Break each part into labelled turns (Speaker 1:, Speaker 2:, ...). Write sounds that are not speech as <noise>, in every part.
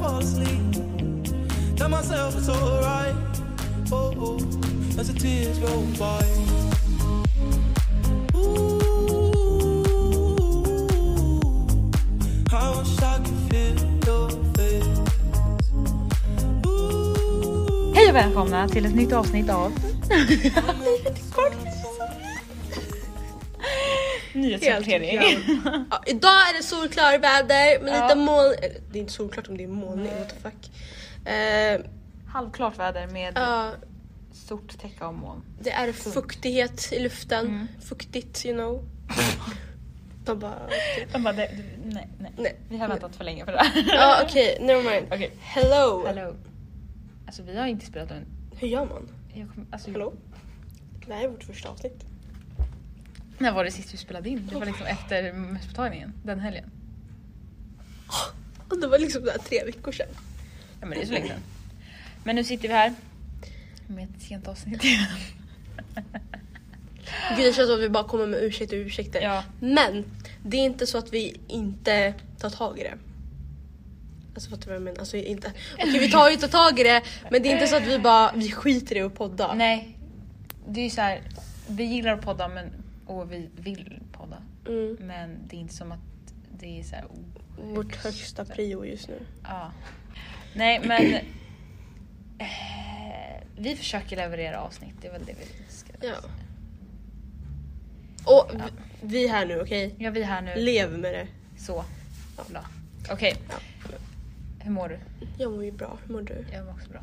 Speaker 1: fall asleep. Tell myself it's alright. Oh, oh, as the tears roll by. Ooh, I wish I could feel your face.
Speaker 2: Hej och välkomna till ett nytt avsnitt av Nyhetsrapportering. <laughs>
Speaker 3: Ja, idag är det solklart väder med
Speaker 2: Ja.
Speaker 3: lite moln... eller, Det är inte solklart om det är molnig, what the fuck. Eh,
Speaker 2: Halvklart väder med
Speaker 3: ja,
Speaker 2: stort täcke av moln.
Speaker 3: det är fuktighet i luften.
Speaker 2: Mm.
Speaker 3: Fuktigt, you
Speaker 2: <laughs>
Speaker 3: know. De bara... okej.
Speaker 2: De bara, det, nej, nej.
Speaker 3: Nej.
Speaker 2: Vi har väntat för länge för det här.
Speaker 3: Ja okej, never mind.
Speaker 2: Okej.
Speaker 3: Hello.
Speaker 2: Hello. Alltså vi har inte spelat en...
Speaker 3: Hur gör man?
Speaker 2: Jag kommer- alltså,
Speaker 3: Hello? Det här är vårt första avsnitt. <gasps>
Speaker 2: När var det sist vi spelade in? Det var liksom efter mässupptagningen, den helgen.
Speaker 3: Och det var liksom där tre veckor sedan.
Speaker 2: Ja men det är så länge sedan. Men nu sitter vi här. Med ett sent avsnitt igen.
Speaker 3: Gud det känns som att vi bara kommer med ursäkter och ursäkter.
Speaker 2: Ja.
Speaker 3: Men det är inte så att vi inte tar tag i det. Alltså fattar du vad jag menar? Alltså, inte... Okej vi tar ju inte tag i det men det är inte så att vi bara vi skiter i att podda.
Speaker 2: Nej. Det är ju så här. vi gillar att podda men, och vi vill podda.
Speaker 3: Mm.
Speaker 2: Men det är inte som att det är så här, oh,
Speaker 3: Vårt högsta prio just nu.
Speaker 2: Ja. Nej men... eh, vi försöker leverera avsnitt, det är väl det vi ska
Speaker 3: Ja. Och vi- vi är här nu okej?
Speaker 2: Ja, vi är här nu.
Speaker 3: Lev med det.
Speaker 2: Så.
Speaker 3: Ja.
Speaker 2: Bra. Okej.
Speaker 3: Ja.
Speaker 2: Hur mår du?
Speaker 3: Jag mår ju bra, hur mår du?
Speaker 2: Jag mår också bra.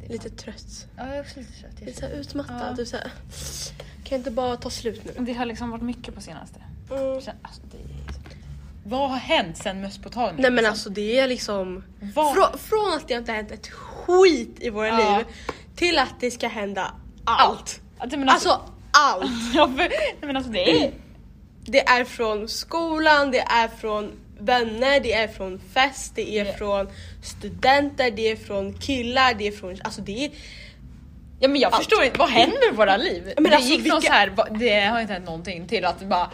Speaker 2: Det är
Speaker 3: Lite
Speaker 2: fan-
Speaker 3: trött.
Speaker 2: Ja, jag är också lite trött. Jag är
Speaker 3: Lite så här utmattad.
Speaker 2: Ja.
Speaker 3: Du så här, kan jag inte bara ta slut nu?
Speaker 2: trött. Det har liksom varit mycket på senaste.
Speaker 3: Mm.
Speaker 2: Sen, alltså, det är... Vad har hänt sen mösspåtagningen?
Speaker 3: Nej men alltså det är liksom...
Speaker 2: Vad?
Speaker 3: Frå, från att det inte har hänt ett skit i våra
Speaker 2: Ja.
Speaker 3: liv till att det ska hända allt.
Speaker 2: Ja, det- men alltså,
Speaker 3: Alltså
Speaker 2: <laughs>
Speaker 3: allt!
Speaker 2: Ja, för- Nej, men alltså det är...
Speaker 3: Det är från skolan, det är från vänner, det är från fest, det är
Speaker 2: Ja.
Speaker 3: från studenter, det är från killar, det är från... Alltså det är...
Speaker 2: Ja men jag
Speaker 3: Allt.
Speaker 2: förstår inte, vad händer i våra liv?
Speaker 3: men
Speaker 2: det
Speaker 3: alltså,
Speaker 2: gick från så
Speaker 3: vilka-
Speaker 2: här, va- det har inte hänt någonting till att bara...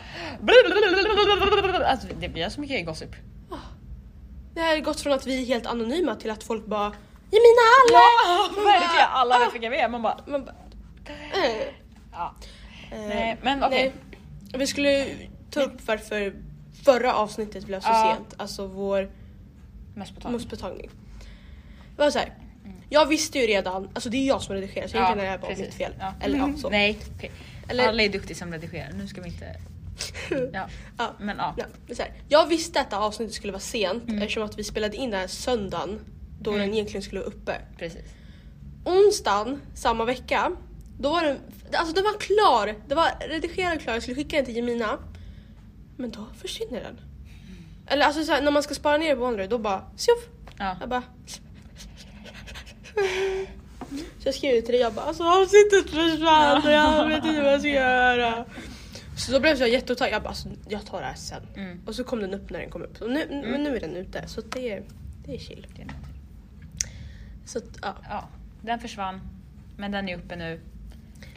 Speaker 2: Alltså det blir så mycket gossip.
Speaker 3: Det har gått från att vi är helt anonyma till att folk bara Jemina alla!
Speaker 2: <laughs> Ja, verkligen! Alla vet vilka vi är, man bara...
Speaker 3: Man bara, eh, eh.
Speaker 2: Ja. Nej, men okej.
Speaker 3: Nej. Vi skulle ta upp varför förra avsnittet blev så
Speaker 2: Ja.
Speaker 3: sent, alltså vår
Speaker 2: Mest på tal.
Speaker 3: mossbetagning. Det var så här. Jag visste ju redan, alltså det är jag som redigerar så egentligen är det bara
Speaker 2: Mm. precis.
Speaker 3: mitt fel.
Speaker 2: Ja.
Speaker 3: Eller ja, så.
Speaker 2: Mm. Nej, okej.
Speaker 3: Eller-
Speaker 2: Alla är duktiga som redigerar, nu ska vi inte... Ja.
Speaker 3: Ja.
Speaker 2: Men ja.
Speaker 3: Ja, det är så här. Jag visste att det här avsnittet skulle vara sent
Speaker 2: Mm.
Speaker 3: eftersom att vi spelade in det här söndagen då den egentligen skulle vara uppe.
Speaker 2: Precis.
Speaker 3: Onsdagen samma vecka, då var den, alltså den var klar. Det var redigerad och klar, jag skulle skicka den till Jemina. Men då försvinner den.
Speaker 2: Mm.
Speaker 3: Eller alltså så här, när man ska spara ner på OneDrive då bara tjoff.
Speaker 2: Ja.
Speaker 3: Jag bara... Så jag skrev till dig, jag bara alltså avsnittet försvann och jag vet inte vad jag ska göra. Så då blev jag jätteotaggad, jag bara alltså, jag tar det här sen.
Speaker 2: Mm.
Speaker 3: Och så kom den upp när den kom upp. Och nu, Men nu är den ute så det, är- det är chill.
Speaker 2: Det är någonting.
Speaker 3: Så att, ja,
Speaker 2: Ja, den försvann. Men den är uppe nu.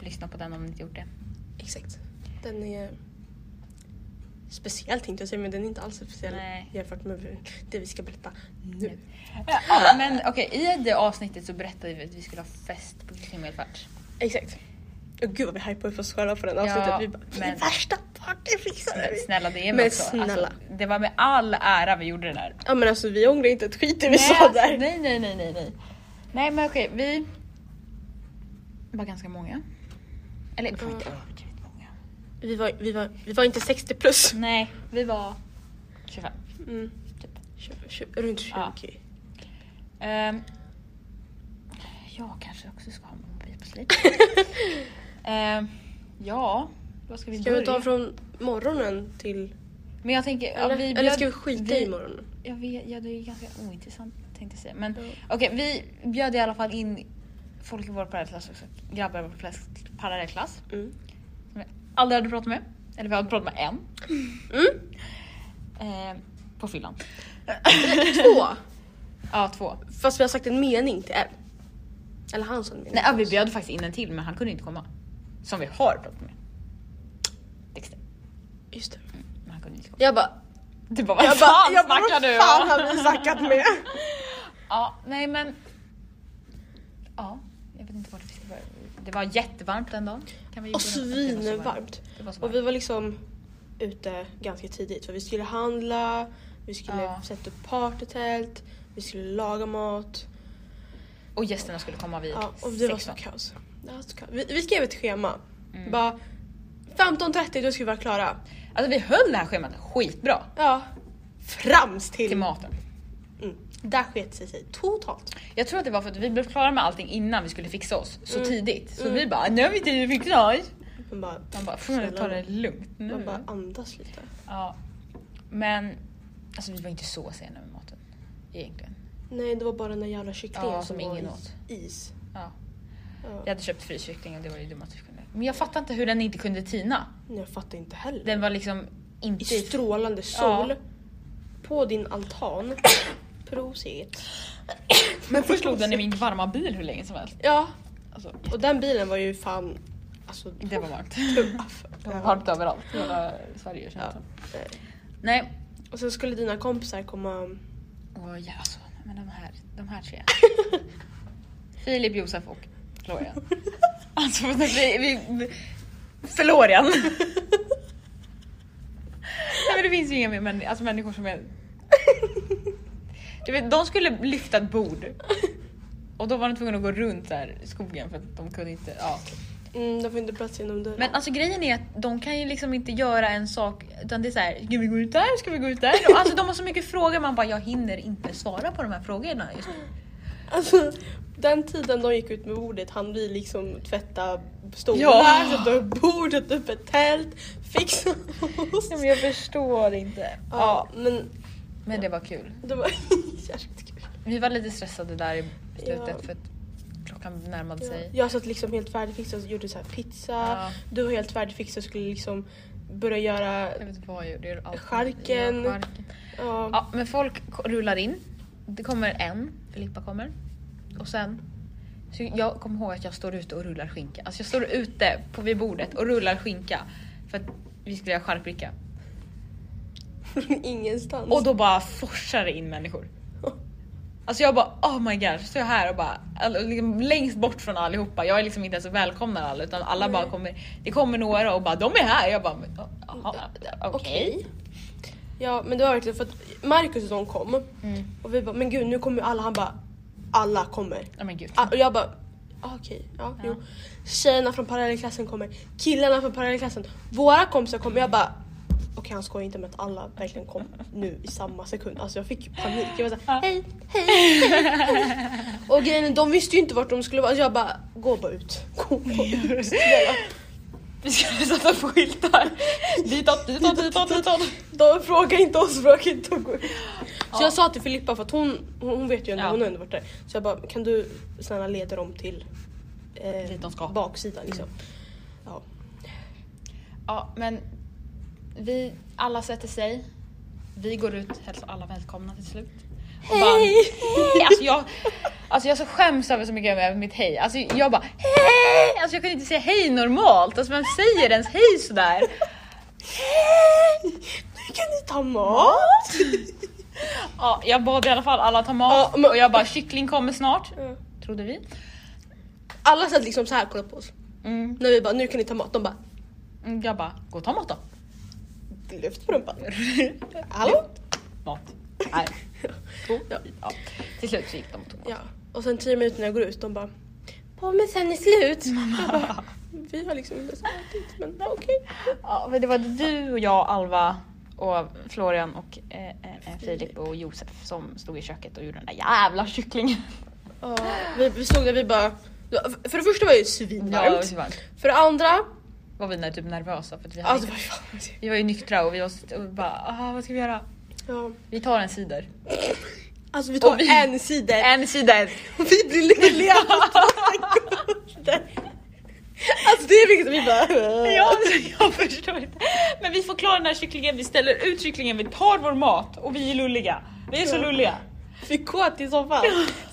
Speaker 2: Lyssna på den om ni inte gjort det.
Speaker 3: exakt. Den är speciell tänkte jag säga men den är inte alls speciell
Speaker 2: Nej.
Speaker 3: jämfört med det vi ska berätta nu.
Speaker 2: Ja, men okej, i det avsnittet så berättade vi att vi skulle ha fest på Krimmelfart.
Speaker 3: Exakt. Och gud vad vi hypade upp oss själva på den avsnittet. vi bara, vi är
Speaker 2: men-
Speaker 3: värsta partyfixare.
Speaker 2: Men snälla det är
Speaker 3: Men
Speaker 2: väl också.
Speaker 3: snälla.
Speaker 2: Alltså, det var med all ära vi gjorde det där.
Speaker 3: Ja men alltså vi ångrar inte ett skit det vi sa
Speaker 2: alltså,
Speaker 3: där.
Speaker 2: nej, nej, nej, nej, nej. Nej, men okej, vi var ganska många. Eller det var inte
Speaker 3: Mm.
Speaker 2: överdrivet många.
Speaker 3: Vi var, vi, var, vi var inte 60 plus.
Speaker 2: Nej, vi var 25.
Speaker 3: Mm.
Speaker 2: Typ.
Speaker 3: Tju- tju- Runt 20.
Speaker 2: Ja. Ehm, jag kanske också ska ha en mobil på slit. Ehm, ja, vad ska vi
Speaker 3: Ska
Speaker 2: börja?
Speaker 3: vi ta från morgonen till...
Speaker 2: Men jag tänker...
Speaker 3: Eller,
Speaker 2: ja, vi
Speaker 3: eller
Speaker 2: bjöd-
Speaker 3: ska vi skita
Speaker 2: vi-
Speaker 3: i morgonen?
Speaker 2: Jag vet, ja, det är ganska ointressant tänkte jag säga. Men
Speaker 3: Ja.
Speaker 2: okej, vi bjöd i alla fall in folk i vår parallellklass också. Grabbar i vår parallell- parallellklass.
Speaker 3: Mm.
Speaker 2: Som vi aldrig hade pratat med. Eller vi hade pratat med en.
Speaker 3: Mm.
Speaker 2: Eh, på fyllan.
Speaker 3: Två.
Speaker 2: <laughs> Ja, två.
Speaker 3: Fast vi har sagt en mening till en. Eller han sa en mening.
Speaker 2: Nej, ja, vi bjöd faktiskt in en till men han kunde inte komma. Som vi har pratat med. Dexter.
Speaker 3: Just det.
Speaker 2: Men han kunde inte komma.
Speaker 3: Jag bara...
Speaker 2: Du bara vad
Speaker 3: Jag
Speaker 2: fan
Speaker 3: bara, jag bara
Speaker 2: snackar
Speaker 3: vad
Speaker 2: du
Speaker 3: fan
Speaker 2: om?
Speaker 3: har vi snackat med?
Speaker 2: Ja, nej men... Ja, jag vet inte vart vi ska börja. Det var jättevarmt den dagen. Kan vi ju
Speaker 3: Och
Speaker 2: gå igenom att det var så
Speaker 3: svinvarmt.
Speaker 2: Det var så
Speaker 3: Och vi
Speaker 2: varmt.
Speaker 3: var liksom ute ganska tidigt för vi skulle handla, vi skulle
Speaker 2: Ja.
Speaker 3: sätta upp partytält, vi skulle laga mat.
Speaker 2: Och gästerna skulle komma vid
Speaker 3: Ja, och det var så
Speaker 2: 16.
Speaker 3: kaos. Det var så kaos. Vi, vi skrev ett schema.
Speaker 2: Mm.
Speaker 3: Bara 15.30 då ska vi vara klara.
Speaker 2: Alltså vi höll det här schemat skitbra.
Speaker 3: Ja. Frams till...
Speaker 2: Till maten.
Speaker 3: Mm. Där sket sig sig totalt.
Speaker 2: Jag tror att det var för att vi blev klara med allting innan vi skulle fixa oss så
Speaker 3: Mm.
Speaker 2: tidigt. Så
Speaker 3: Mm.
Speaker 2: vi bara, nu har vi tid att fixa oss.
Speaker 3: Man bara,
Speaker 2: Man bara, får man ta det lugnt
Speaker 3: man
Speaker 2: nu?
Speaker 3: bara andas lite.
Speaker 2: Ja. Men alltså vi var inte så sena med maten. Egentligen.
Speaker 3: Nej det var bara den där jävla kycklingen
Speaker 2: Ja,
Speaker 3: som
Speaker 2: som ingen
Speaker 3: var i
Speaker 2: åt.
Speaker 3: is.
Speaker 2: Ja.
Speaker 3: Ja.
Speaker 2: Jag hade köpt fryskyckling och det var ju dumt att vi kunde. Men jag fattar inte hur den inte kunde tina.
Speaker 3: Nej, Jag fattar inte heller.
Speaker 2: Den var liksom
Speaker 3: I
Speaker 2: inte...
Speaker 3: strålande sol.
Speaker 2: Ja.
Speaker 3: På din altan. Prosit.
Speaker 2: Men först låg den i min varma bil hur länge som helst.
Speaker 3: Ja,
Speaker 2: Alltså,
Speaker 3: och den bilen var ju fan... Alltså,
Speaker 2: det var
Speaker 3: <laughs>
Speaker 2: varmt.
Speaker 3: tuff.
Speaker 2: Det var varmt överallt. Hela Sverige känns
Speaker 3: Ja.
Speaker 2: det Nej.
Speaker 3: <laughs> Och sen skulle dina kompisar komma...
Speaker 2: Åh ja, alltså, nej, men de här, de här
Speaker 3: <laughs>
Speaker 2: tre. Filip, Josef och
Speaker 3: <laughs>
Speaker 2: Florian. Alltså vi... vi, vi
Speaker 3: <laughs>
Speaker 2: Florian! nej men det finns ju inga mer män, alltså, människor som är... Du vet, de skulle lyfta ett bord. Och då var de tvungna att gå runt där i skogen för att de kunde inte... Ja.
Speaker 3: Mm, de får inte plats genom dörren.
Speaker 2: Men alltså grejen är att de kan ju liksom inte göra en sak utan det är så här, ska vi gå ut där, ska vi gå ut där? Och alltså de har så mycket frågor man bara, jag hinner inte svara på de här frågorna just nu.
Speaker 3: <laughs> Alltså, den tiden de gick ut med bordet hann vi liksom tvätta stolar,
Speaker 2: Ja.
Speaker 3: sätta upp bord, sätta upp ett tält, fixa oss.
Speaker 2: men jag förstår inte.
Speaker 3: Ja, men
Speaker 2: Men det var kul.
Speaker 3: det var <laughs> jävligt kul.
Speaker 2: Vi var lite stressade där i slutet
Speaker 3: Ja.
Speaker 2: för att klockan närmade
Speaker 3: Ja.
Speaker 2: sig.
Speaker 3: Jag satt liksom helt färdigfixad och gjorde så här pizza.
Speaker 2: Ja.
Speaker 3: Du var helt färdigfixad och skulle liksom börja göra...
Speaker 2: Jag vet inte vad jag gjorde. jag gjorde allt.
Speaker 3: Charken.
Speaker 2: Ja, charken.
Speaker 3: Ja, <laughs>
Speaker 2: Ja, men folk ko- rullar in. Det kommer en, Filippa kommer. Och sen, så jag kommer ihåg att jag står ute och rullar skinka. Alltså jag står ute på, vid bordet och rullar skinka. För att vi skulle göra charkbricka.
Speaker 3: från ingenstans.
Speaker 2: Och då bara forsar det in människor. Alltså jag bara oh my god, så står jag här och bara all- liksom, längst bort från allihopa. Jag är liksom inte ens välkomnar alla utan alla bara kommer. Det kommer några och bara de är här. Jag bara men, oh, jaha, okej.
Speaker 3: Ja men det var verkligen för att Marcus och de kom
Speaker 2: Mm.
Speaker 3: och vi bara men gud nu kommer ju alla. Han bara alla kommer.
Speaker 2: Ja men gud.
Speaker 3: Ah, Och jag bara ah, okej, ja,
Speaker 2: Ja.
Speaker 3: jo. Tjejerna från parallellklassen kommer, killarna från parallellklassen, våra kompisar kommer. Jag bara okej han skojar inte med att alla verkligen kom nu i samma sekund. Alltså jag fick panik. Jag var såhär hej, hej, hej. Och grejen är, de visste ju inte vart de skulle vara. Så jag bara gå bara ut. Gå
Speaker 2: <laughs>
Speaker 3: bara ut. Snälla.
Speaker 2: Vi skulle sätta upp skyltar. <laughs> Ditåt, ditåt, ditåt, ditåt.
Speaker 3: De frågar inte oss, frågar inte att gå ut. Så jag sa till Filippa för att hon, hon hon vet ju ändå,
Speaker 2: Ja.
Speaker 3: hon har ändå varit där. Så jag bara kan du snälla leda dem till eh,
Speaker 2: Dit de ska.
Speaker 3: baksidan liksom. Ja.
Speaker 2: Ja men vi alla sätter sig. Vi går ut, hälsar alla välkomna till slut. Och bara,
Speaker 3: Hej!
Speaker 2: hej! Alltså jag, alltså jag så skäms över så mycket över mitt hej. Alltså jag bara hej! Alltså jag kunde inte säga hej normalt. Alltså vem säger ens hej sådär?
Speaker 3: Nu kan ni ta mat!
Speaker 2: Ja, jag bad i alla fall alla ta mat
Speaker 3: Ja, men-
Speaker 2: och jag bara kyckling kommer snart.
Speaker 3: Ja.
Speaker 2: Trodde vi.
Speaker 3: Alla satt liksom så här och kollade på oss.
Speaker 2: Mm.
Speaker 3: När vi bara nu kan ni ta mat, de bara
Speaker 2: Mm, Jag bara gå och ta mat då. <laughs>
Speaker 3: lyft på rumpan. Hallå?
Speaker 2: Mat. Nej.
Speaker 3: Ja.
Speaker 2: Ja. Till slut så gick de och
Speaker 3: <laughs>
Speaker 2: tog mat. <laughs>
Speaker 3: ja. Och sen tio minuter när jag går ut, de bara Ja men sen är slut. Jag bara, Vi har liksom inte så ätit men ja, okej.
Speaker 2: Ja, men det var du och jag, Alva och Florian och eh, eh, Filip och Josef som stod i köket och gjorde den där jävla kycklingen.
Speaker 3: Ja, vi, vi stod där vi bara För det första var det ju svinvarmt.
Speaker 2: det var varmt.
Speaker 3: För det andra
Speaker 2: Var vi när typ nervösa för att vi, hade,
Speaker 3: Alltså vad <laughs> fan.
Speaker 2: vi var ju nyktra och vi var s- och bara ah, vad ska vi göra?
Speaker 3: Ja.
Speaker 2: Vi tar en cider.
Speaker 3: Alltså vi tar
Speaker 2: Och vi-
Speaker 3: en sida
Speaker 2: En cider!
Speaker 3: och <laughs> vi blir lyckliga. alltså det är liksom vi bara...
Speaker 2: <laughs> <laughs> Ja, jag förstår inte. Men vi får klara den här kycklingen, vi ställer ut kycklingen, vi tar vår mat och vi är lulliga. Vi är så
Speaker 3: Ja.
Speaker 2: lulliga.
Speaker 3: Vi är kåt i soffan,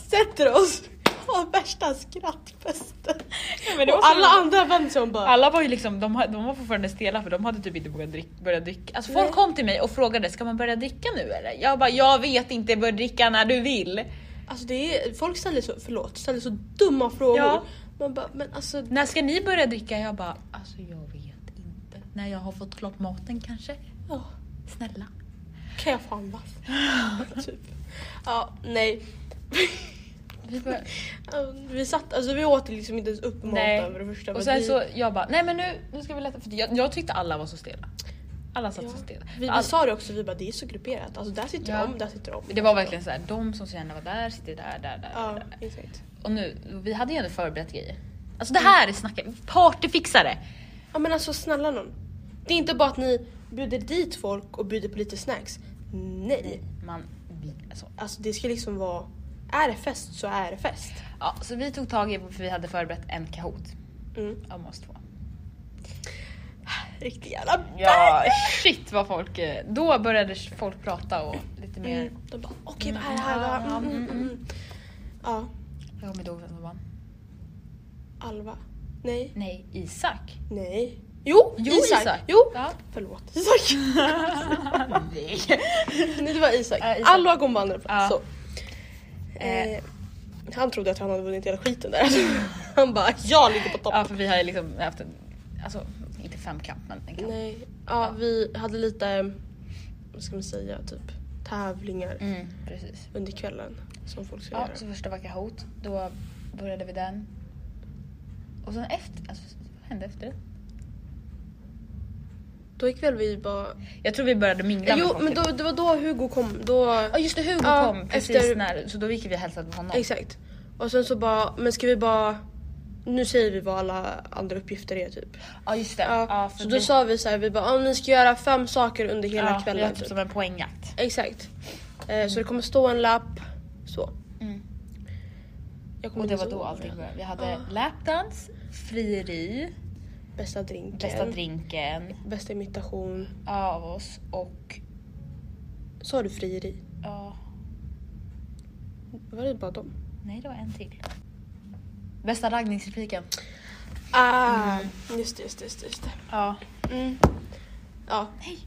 Speaker 3: sätter oss har värsta skrattfesten.
Speaker 2: Ja, men det var
Speaker 3: Och
Speaker 2: så
Speaker 3: alla
Speaker 2: roligt.
Speaker 3: andra vänder sig om bara...
Speaker 2: Alla var ju liksom, de, ha- de var fortfarande stela för de hade typ inte vågat drick, börja dricka. Alltså folk
Speaker 3: Nej.
Speaker 2: kom till mig och frågade ska man börja dricka nu eller? Jag bara jag vet inte, börja dricka när du vill.
Speaker 3: Alltså det är, folk ställer så, förlåt, ställer så dumma frågor.
Speaker 2: Ja.
Speaker 3: Man bara, men alltså
Speaker 2: När ska ni börja dricka? Jag bara, alltså jag vet inte. När jag har fått klart maten kanske?
Speaker 3: ja,
Speaker 2: Snälla.
Speaker 3: kan jag få andas?
Speaker 2: <laughs>
Speaker 3: typ. Ja, nej.
Speaker 2: Vi börjar-
Speaker 3: Ja, Vi satt, alltså vi åt liksom inte ens upp
Speaker 2: Nej.
Speaker 3: maten för det första.
Speaker 2: Och
Speaker 3: men
Speaker 2: sen
Speaker 3: vi,
Speaker 2: så jag bara, nej men nu, nu ska vi lätta. För jag, jag tyckte alla var så stela. Alla satt
Speaker 3: Ja.
Speaker 2: så stela.
Speaker 3: vi, vi
Speaker 2: All-
Speaker 3: sa det också, vi bara det är så grupperat. Alltså där sitter
Speaker 2: Ja.
Speaker 3: de, där sitter de.
Speaker 2: det var verkligen så här, de som känner var där sitter där, där, där.
Speaker 3: Ja,
Speaker 2: där.
Speaker 3: exakt.
Speaker 2: Och nu, vi hade ju ändå förberett grejer. Alltså
Speaker 3: Mm.
Speaker 2: det här är snacket, partyfixare!
Speaker 3: Ja men alltså snälla någon. Det är inte bara att ni bjuder dit folk och bjuder på lite snacks. Nej.
Speaker 2: Man, vi- alltså,
Speaker 3: Alltså det ska liksom vara, är det fest så är det fest.
Speaker 2: ja, så vi tog tag i, för vi hade förberett en Kahoot
Speaker 3: Mm.
Speaker 2: om oss två.
Speaker 3: Riktigt jävla
Speaker 2: Ja, <laughs> shit vad folk... eh, Då började folk prata och lite mer...
Speaker 3: Mm. De bara okej vad är det här?
Speaker 2: Mm,
Speaker 3: Mm,
Speaker 2: mm,
Speaker 3: mm, mm. Ja,
Speaker 2: Jag kommer inte ihåg vem som vann.
Speaker 3: Alva. Nej.
Speaker 2: Nej, Isak.
Speaker 3: Nej. Jo,
Speaker 2: Jo,
Speaker 3: Isak.
Speaker 2: Isak.
Speaker 3: Jo.
Speaker 2: Ja.
Speaker 3: Förlåt Isak.
Speaker 2: <laughs> Nej.
Speaker 3: Nej <laughs> det var Isak.
Speaker 2: Ja, Isak.
Speaker 3: Alva kom på andra
Speaker 2: Ja.
Speaker 3: plats. Så. Eh, han trodde att han hade vunnit hela skiten där. <laughs> han bara jag ligger på topp.
Speaker 2: Ja, för vi har ju liksom haft en... Alltså, inte femkamp men en kamp.
Speaker 3: Nej, ja, vi hade lite, vad ska man säga, typ tävlingar
Speaker 2: Mm, precis.
Speaker 3: under kvällen som folk skulle
Speaker 2: Ja,
Speaker 3: göra.
Speaker 2: så första var Kahoot. Då började vi den. Och sen efter... Alltså, vad hände efter det?
Speaker 3: Då gick väl vi bara...
Speaker 2: Jag tror vi började mingla med
Speaker 3: jo,
Speaker 2: folk typ.
Speaker 3: men då,
Speaker 2: lite.
Speaker 3: det var då Hugo kom. Då...
Speaker 2: Ja just det, Hugo
Speaker 3: Ja,
Speaker 2: kom precis
Speaker 3: efter-
Speaker 2: när... Så då gick vi och hälsade på honom.
Speaker 3: Exakt. Och sen så bara, men ska vi bara... Nu säger vi vad alla andra uppgifter är typ.
Speaker 2: Ja just det.
Speaker 3: Ja,
Speaker 2: Ja, för
Speaker 3: så då sa vi så här, vi bara om ni ska göra fem saker under hela
Speaker 2: ja, Vi
Speaker 3: kvällen.
Speaker 2: har typ
Speaker 3: Typ.
Speaker 2: som en poängjakt.
Speaker 3: Exakt. Eh, Så det kommer stå en lapp. Så.
Speaker 2: Mm.
Speaker 3: Jag kommer
Speaker 2: Och det
Speaker 3: inte
Speaker 2: var
Speaker 3: ihåg
Speaker 2: då
Speaker 3: vad
Speaker 2: allting
Speaker 3: det var.
Speaker 2: började. Vi hade lapdans, frieri,
Speaker 3: Bästa drinken.
Speaker 2: bästa drinken
Speaker 3: Bästa imitation.
Speaker 2: av oss och...
Speaker 3: Sa du frieri?
Speaker 2: Ja,
Speaker 3: Var det bara dem?
Speaker 2: nej det var en till. Bästa raggningsrepliken.
Speaker 3: Ah, just det, just det, just det, just det.
Speaker 2: Ja.
Speaker 3: Mm. Ja.
Speaker 2: Nej!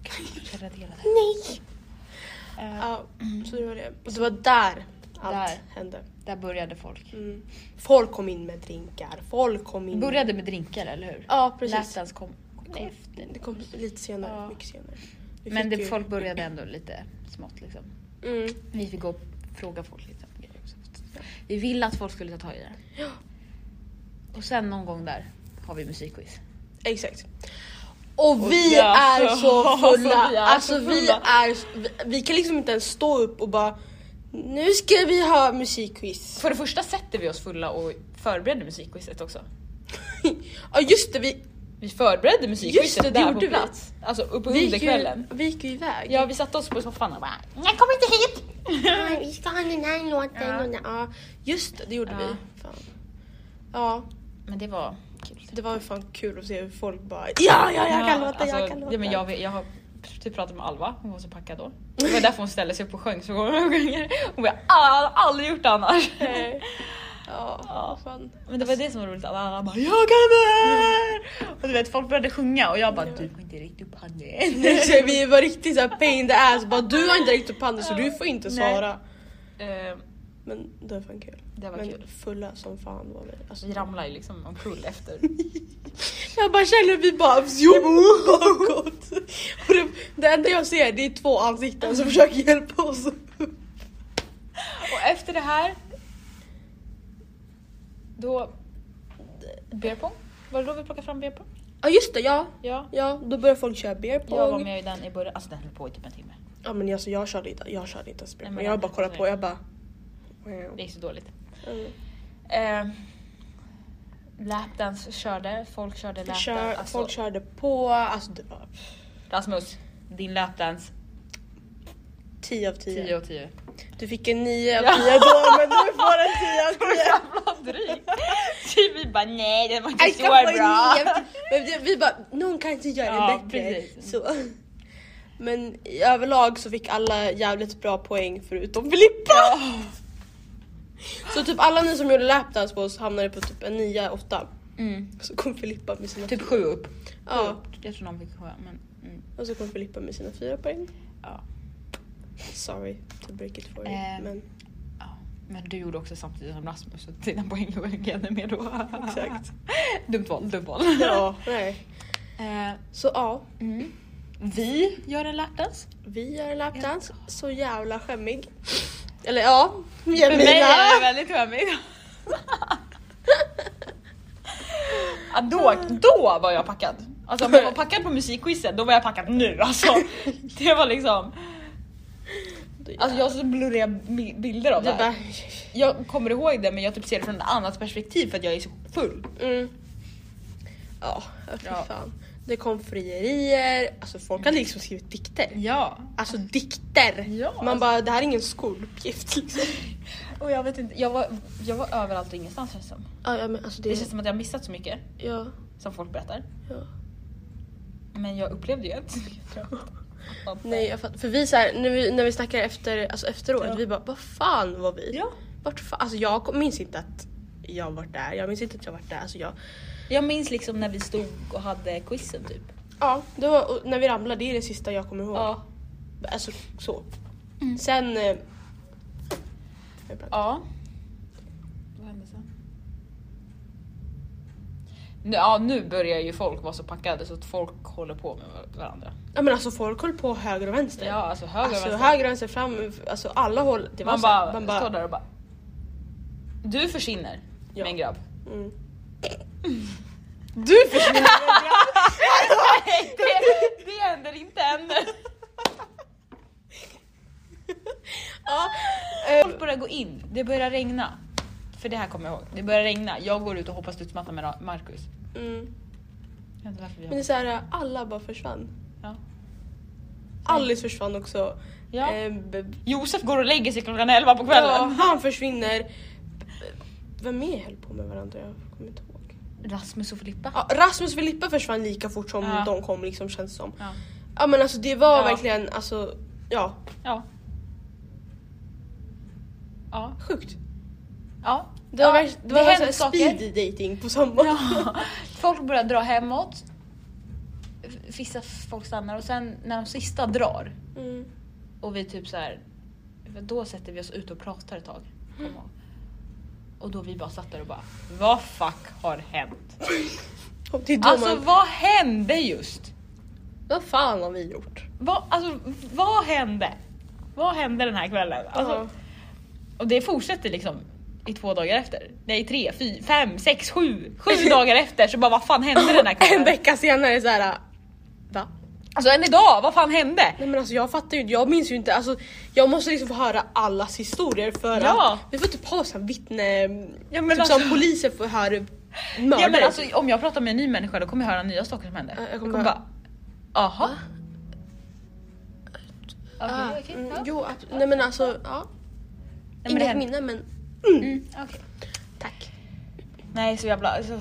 Speaker 2: Okej, jag raderade.
Speaker 3: Nej!
Speaker 2: Eh,
Speaker 3: Ja, så det var det. Och det var där allt
Speaker 2: Där.
Speaker 3: hände.
Speaker 2: där började folk.
Speaker 3: Mm. Folk kom in med drinkar, folk kom in...
Speaker 2: Började med drinkar, eller hur?
Speaker 3: Ja, precis.
Speaker 2: Lapdance kom, kom efter.
Speaker 3: Det kom lite senare,
Speaker 2: Ja.
Speaker 3: mycket senare. Vi
Speaker 2: Men
Speaker 3: fick
Speaker 2: det,
Speaker 3: ju-
Speaker 2: folk började ändå lite smått liksom.
Speaker 3: Mm.
Speaker 2: Vi fick gå och fråga folk lite om grejer också. Vi ville att folk skulle ta tag i det.
Speaker 3: Ja.
Speaker 2: Och sen någon gång där har vi musikquiz.
Speaker 3: Exakt. Och vi
Speaker 2: det är
Speaker 3: är
Speaker 2: <laughs>
Speaker 3: så
Speaker 2: så-
Speaker 3: fulla!
Speaker 2: vi är
Speaker 3: Alltså
Speaker 2: så
Speaker 3: vi
Speaker 2: fulla.
Speaker 3: är... Vi, vi kan liksom inte ens stå upp och bara Nu ska vi ha musikquiz.
Speaker 2: För det första sätter vi oss fulla och förbereder musikquizet också.
Speaker 3: ja just det, vi,
Speaker 2: Vi förberedde
Speaker 3: Just det, det
Speaker 2: musikquizet där
Speaker 3: gjorde
Speaker 2: på
Speaker 3: vi.
Speaker 2: plats. Alltså uppe
Speaker 3: vi,
Speaker 2: under
Speaker 3: gick ju,
Speaker 2: kvällen.
Speaker 3: vi gick ju iväg.
Speaker 2: Ja, vi satte oss på soffan och bara Jag kommer inte hit!
Speaker 3: Nej, <laughs> vi ska ha den här låten
Speaker 2: Ja.
Speaker 3: och den. Ja, just det, det gjorde
Speaker 2: Ja.
Speaker 3: vi. Fan. Ja,
Speaker 2: Men det var kul.
Speaker 3: det var ju fan kul att se hur folk bara ja, ja, jag kan låta, jag kan låta.
Speaker 2: Ja, alltså, men
Speaker 3: <laughs>
Speaker 2: jag, vet- jag har typ pratat med Alva, hon var så packad då. Det var därför hon ställde sig upp och sjöng så många gånger. Hon bara "Ah, jag har aldrig gjort det annars.
Speaker 3: Nej. Ja,
Speaker 2: Ja.
Speaker 3: fan.
Speaker 2: Men det var det som var roligt, alla andra bara jag kan det här! Och du vet folk började sjunga och jag bara du får inte riktigt upp <laughs> handen.
Speaker 3: Så vi var riktigt såhär pain in the ass, bara du har inte räckt upp handen så du får inte
Speaker 2: Nej.
Speaker 3: svara.
Speaker 2: Eh,
Speaker 3: Men det var fan kul.
Speaker 2: Det var
Speaker 3: men
Speaker 2: kul.
Speaker 3: fulla som fan var vi. Alltså,
Speaker 2: Vi ramlade ju liksom omkull efter.
Speaker 3: jag bara känner vi bara fjopp bakåt. Och det, det enda jag ser det är två ansikten som försöker hjälpa oss.
Speaker 2: Och efter det här då... Beer pong? Var det då vi plockade fram beer pong?
Speaker 3: Ja just det, ja.
Speaker 2: Ja.
Speaker 3: Ja, då börjar folk köra beer pong.
Speaker 2: Jag var med i den i början, alltså den höll på i typ en timme.
Speaker 3: Ja men alltså jag körde inte, jag körde inte ens
Speaker 2: Nej,
Speaker 3: spel.
Speaker 2: men
Speaker 3: Men jag
Speaker 2: den-
Speaker 3: bara kollade på, jag bara... wow.
Speaker 2: Det gick så dåligt.
Speaker 3: Mm.
Speaker 2: Eh, lapdance körde, folk körde lapdance.
Speaker 3: Kör,
Speaker 2: alltså,
Speaker 3: Folk körde på, alltså det var
Speaker 2: Rasmus, din lapdance
Speaker 3: 10 av 10.
Speaker 2: 10 av 10.
Speaker 3: Du fick en 9 av 10 då men du får en 10
Speaker 2: <laughs>
Speaker 3: av <laughs>
Speaker 2: Jävla
Speaker 3: 10.
Speaker 2: dryg! Typ vi bara nej det var inte
Speaker 3: Jag
Speaker 2: så
Speaker 3: ska få en
Speaker 2: bra.
Speaker 3: 9 av 10. Men vi- vi bara, någon kan inte göra det
Speaker 2: Ja,
Speaker 3: bättre.
Speaker 2: precis.
Speaker 3: Så. Men i överlag så fick alla jävligt bra poäng förutom Filippa. <laughs> Så typ alla ni som gjorde lapdance på oss hamnade på typ en 9, 8.
Speaker 2: Mm.
Speaker 3: Så kom Filippa med sina
Speaker 2: Typ 7 upp.
Speaker 3: Ja,
Speaker 2: Jag tror någon fick 7 men mm.
Speaker 3: och så kom Filippa med sina fyra poäng.
Speaker 2: Ja.
Speaker 3: Sorry to break it for you.
Speaker 2: Eh.
Speaker 3: Men
Speaker 2: Ja, Men du gjorde också samtidigt som Rasmus så dina poäng var ju ännu mer då. <laughs>
Speaker 3: Exakt.
Speaker 2: dumt val, dumt val.
Speaker 3: ja, nej.
Speaker 2: Eh,
Speaker 3: Så ja,
Speaker 2: mm. Vi gör en lapdance.
Speaker 3: vi gör en lapdance. Så jävla skämmig. Eller ja, Jemina.
Speaker 2: För mig är det väldigt skämmigt. ja, då, då var jag packad. Alltså om jag var packad på musikquizet, då var jag packad nu alltså. Det var liksom, alltså jag har så blurriga bi- bilder av det
Speaker 3: Du bara...
Speaker 2: här. Jag kommer ihåg det men jag typ ser det från ett annat perspektiv för att jag är så full.
Speaker 3: Mm. Ja, fy
Speaker 2: Ja.
Speaker 3: fan. Det kom frierier. Alltså folk hade liksom skrivit dikter.
Speaker 2: Ja.
Speaker 3: Alltså dikter!
Speaker 2: Ja,
Speaker 3: Man
Speaker 2: alltså-
Speaker 3: bara, det här är ingen skoluppgift liksom.
Speaker 2: Och jag vet inte, jag var, jag var överallt och ingenstans känns det som.
Speaker 3: ja, ja, men alltså det...
Speaker 2: Det känns som att jag har missat så mycket
Speaker 3: Ja,
Speaker 2: som folk berättar.
Speaker 3: ja.
Speaker 2: Men jag upplevde ju att... <laughs>
Speaker 3: Nej, jag fattar. För vi så här, när vi, när vi snackar efter, alltså efteråt,
Speaker 2: Ja.
Speaker 3: vi bara vad fan var vi?
Speaker 2: Ja.
Speaker 3: Vart fan? Alltså jag kom- minns inte att jag varit där, jag minns inte att jag varit där. Alltså jag,
Speaker 2: Jag minns liksom när vi stod och hade quizen typ.
Speaker 3: ja, det var, och när vi ramlade, det är det sista jag kommer ihåg.
Speaker 2: Ja.
Speaker 3: Alltså så. Sen... eh,
Speaker 2: Ja. Vad hände sen? Nu, ja, nu börjar ju folk vara så packade så att folk håller på med var- varandra.
Speaker 3: Ja men alltså folk höll på höger och vänster.
Speaker 2: Ja, alltså höger och
Speaker 3: Alltså
Speaker 2: vänster.
Speaker 3: höger och vänster fram, alltså alla håll. Det var
Speaker 2: man,
Speaker 3: så här,
Speaker 2: bara,
Speaker 3: man
Speaker 2: står
Speaker 3: bara
Speaker 2: där och bara... Du försvinner
Speaker 3: Ja.
Speaker 2: med en grabb.
Speaker 3: mm.
Speaker 2: Du försvinner med en grabb! <laughs> Nej, det, det händer inte ännu.
Speaker 3: Ja, Eh,
Speaker 2: Folk börjar gå in, det börjar regna. För det här kommer jag ihåg. Det börjar regna, jag går ut och hoppar studsmatta med Ra- Marcus.
Speaker 3: mm.
Speaker 2: Jag vet inte varför vi
Speaker 3: Men det är
Speaker 2: hoppar.
Speaker 3: så här, alla bara försvann.
Speaker 2: Ja.
Speaker 3: Alice försvann också.
Speaker 2: Ja.
Speaker 3: Eh, b-
Speaker 2: Josef går och lägger sig klockan 11 på kvällen.
Speaker 3: Ja, han försvinner. Vem mer höll på med varandra? Jag kommer inte ihåg.
Speaker 2: Rasmus och Filippa.
Speaker 3: Ja, Rasmus och Filippa försvann lika fort som
Speaker 2: Ja.
Speaker 3: de kom liksom känns det som.
Speaker 2: Ja.
Speaker 3: Ja men alltså det var
Speaker 2: Ja.
Speaker 3: verkligen alltså, ja
Speaker 2: Ja. Ja.
Speaker 3: sjukt.
Speaker 2: ja.
Speaker 3: Det var,
Speaker 2: Ja,
Speaker 3: verk- det var så här
Speaker 2: händer saker.
Speaker 3: speed dating på sommaren.
Speaker 2: Ja. Folk börjar dra hemåt. F- Vissa folk stannar och sen när de sista drar
Speaker 3: Mm.
Speaker 2: och vi typ så här, då sätter vi oss ut och pratar ett tag.
Speaker 3: Mm.
Speaker 2: kommer jag ihåg. Och då vi bara satt där och bara, vad fuck har hänt?
Speaker 3: Och det är då
Speaker 2: Alltså
Speaker 3: man,
Speaker 2: vad hände just?
Speaker 3: vad fan har vi gjort?
Speaker 2: Vad, alltså, vad hände? Vad hände den här kvällen? Alltså,
Speaker 3: Ja.
Speaker 2: Och det fortsätter liksom i två dagar efter. Nej tre, fy, fem, sex, sju, sju <laughs> dagar efter så bara vad fan hände den här kvällen?
Speaker 3: en vecka senare så här. Va?
Speaker 2: Alltså än idag, vad fan hände?
Speaker 3: Nej men alltså jag fattar ju inte, jag minns ju inte, alltså jag måste liksom få höra allas historier för
Speaker 2: Ja.
Speaker 3: att vi får typ ha sån här vittne...
Speaker 2: Ja, men
Speaker 3: typ
Speaker 2: alltså-
Speaker 3: som poliser får höra mördare.
Speaker 2: Ja, men alltså, om jag pratar med en ny människa då kommer jag höra nya saker som hände.
Speaker 3: Ja,
Speaker 2: Jag kommer bara, jaha? Ah, Okej, okej,
Speaker 3: Mm,
Speaker 2: ja.
Speaker 3: jo, abs- nej men alltså
Speaker 2: Nej,
Speaker 3: ja.
Speaker 2: men det
Speaker 3: Inget
Speaker 2: hände.
Speaker 3: minne men
Speaker 2: Mm, okej.
Speaker 3: tack.
Speaker 2: Nej så jävla... Alltså,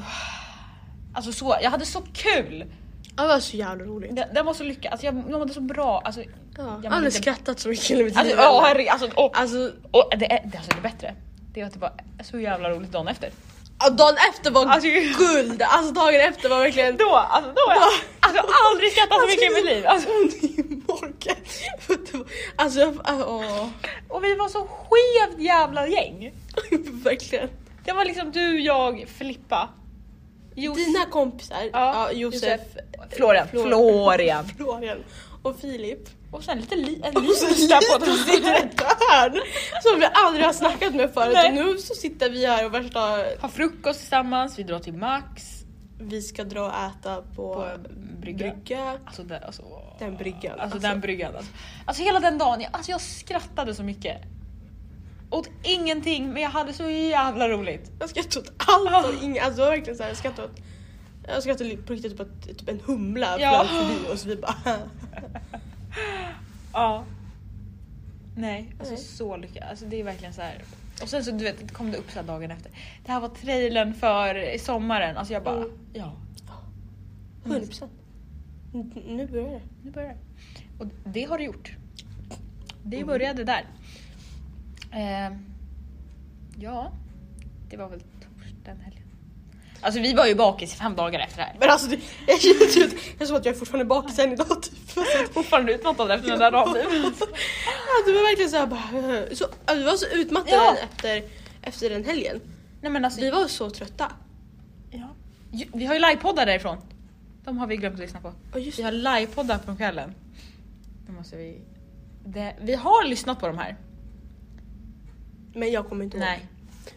Speaker 2: alltså så, jag hade så kul!
Speaker 3: Ja, det var så jävla roligt.
Speaker 2: Den, den var så lyckad, alltså, jag jag mådde så bra. Alltså,
Speaker 3: Ja,
Speaker 2: men
Speaker 3: jag hade
Speaker 2: inte-
Speaker 3: skrattat så mycket under mitt
Speaker 2: alltså,
Speaker 3: liv.
Speaker 2: ja, herregud, alltså, åh.
Speaker 3: Alltså,
Speaker 2: Och det, är, det, alltså, det är bättre, det är att det var så jävla roligt dagen efter.
Speaker 3: ja, dagen efter var
Speaker 2: Alltså-
Speaker 3: guld, alltså dagen efter var
Speaker 2: <laughs>
Speaker 3: verkligen...
Speaker 2: Då, alltså då har jag alltså, jag har aldrig skrattat så mycket i mitt liv. Alltså,
Speaker 3: Ont i magen. <laughs> För att det var- Alltså jag... Åh,
Speaker 2: och vi var så skevt jävla gäng.
Speaker 3: <laughs> verkligen.
Speaker 2: Det var liksom du, jag, Filippa, Josef,
Speaker 3: Dina kompisar, ja, Josef,
Speaker 2: Florian.
Speaker 3: Flor-
Speaker 2: Florian.
Speaker 3: Florian och Filip.
Speaker 2: <laughs> Och sen lite li, en
Speaker 3: Och så
Speaker 2: liten
Speaker 3: sitter
Speaker 2: där på
Speaker 3: och sitter detta här som vi aldrig har snackat med förut
Speaker 2: Nej.
Speaker 3: och nu så sitter vi här och värsta...
Speaker 2: Har frukost tillsammans, vi drar till Max.
Speaker 3: Vi ska dra och äta på,
Speaker 2: På en brygga.
Speaker 3: brygga.
Speaker 2: Alltså, det, alltså, alltså,
Speaker 3: Den bryggan.
Speaker 2: den bryggan. Alltså. alltså hela den dagen, jag, alltså, jag skrattade så mycket. Åt ingenting men jag hade så jävla roligt.
Speaker 3: Jag skrattar åt allt
Speaker 2: Ah.
Speaker 3: och inget. Alltså det var verkligen så här, jag skrattar åt... Jag skrattade på riktigt typ att typ en humla
Speaker 2: Ja.
Speaker 3: flög förbi och så vi bara... <laughs>
Speaker 2: Ja. Nej, alltså
Speaker 3: Nej.
Speaker 2: så lyckad. Alltså det är verkligen så här. Och sen så du vet, kom det upp så här dagen efter. Det här var trailern för sommaren. Alltså jag bara,
Speaker 3: Mm.
Speaker 2: ja,
Speaker 3: 100%. N- Nu börjar det.
Speaker 2: nu börjar det. Och det har det gjort. Det började där. Eh, ja, det var väl torsdagen helgen. Alltså vi var ju bakis i fem dagar efter det här.
Speaker 3: Men alltså det, jag känner typ, det är som att jag är fortfarande bakis än idag typ.
Speaker 2: <laughs> fortfarande utmattad efter den där ramen.
Speaker 3: Ja, du var verkligen såhär bara... Så, ja, du var så utmattad
Speaker 2: Ja.
Speaker 3: efter, efter den helgen.
Speaker 2: Nej men alltså,
Speaker 3: Vi var så trötta.
Speaker 2: ja. Ju- vi har ju livepoddar därifrån. De har vi glömt att lyssna på.
Speaker 3: Och just
Speaker 2: Vi har livepoddar på kvällen. Nu måste vi... Det, vi har lyssnat på de här.
Speaker 3: Men jag kommer inte ihåg.
Speaker 2: Nej.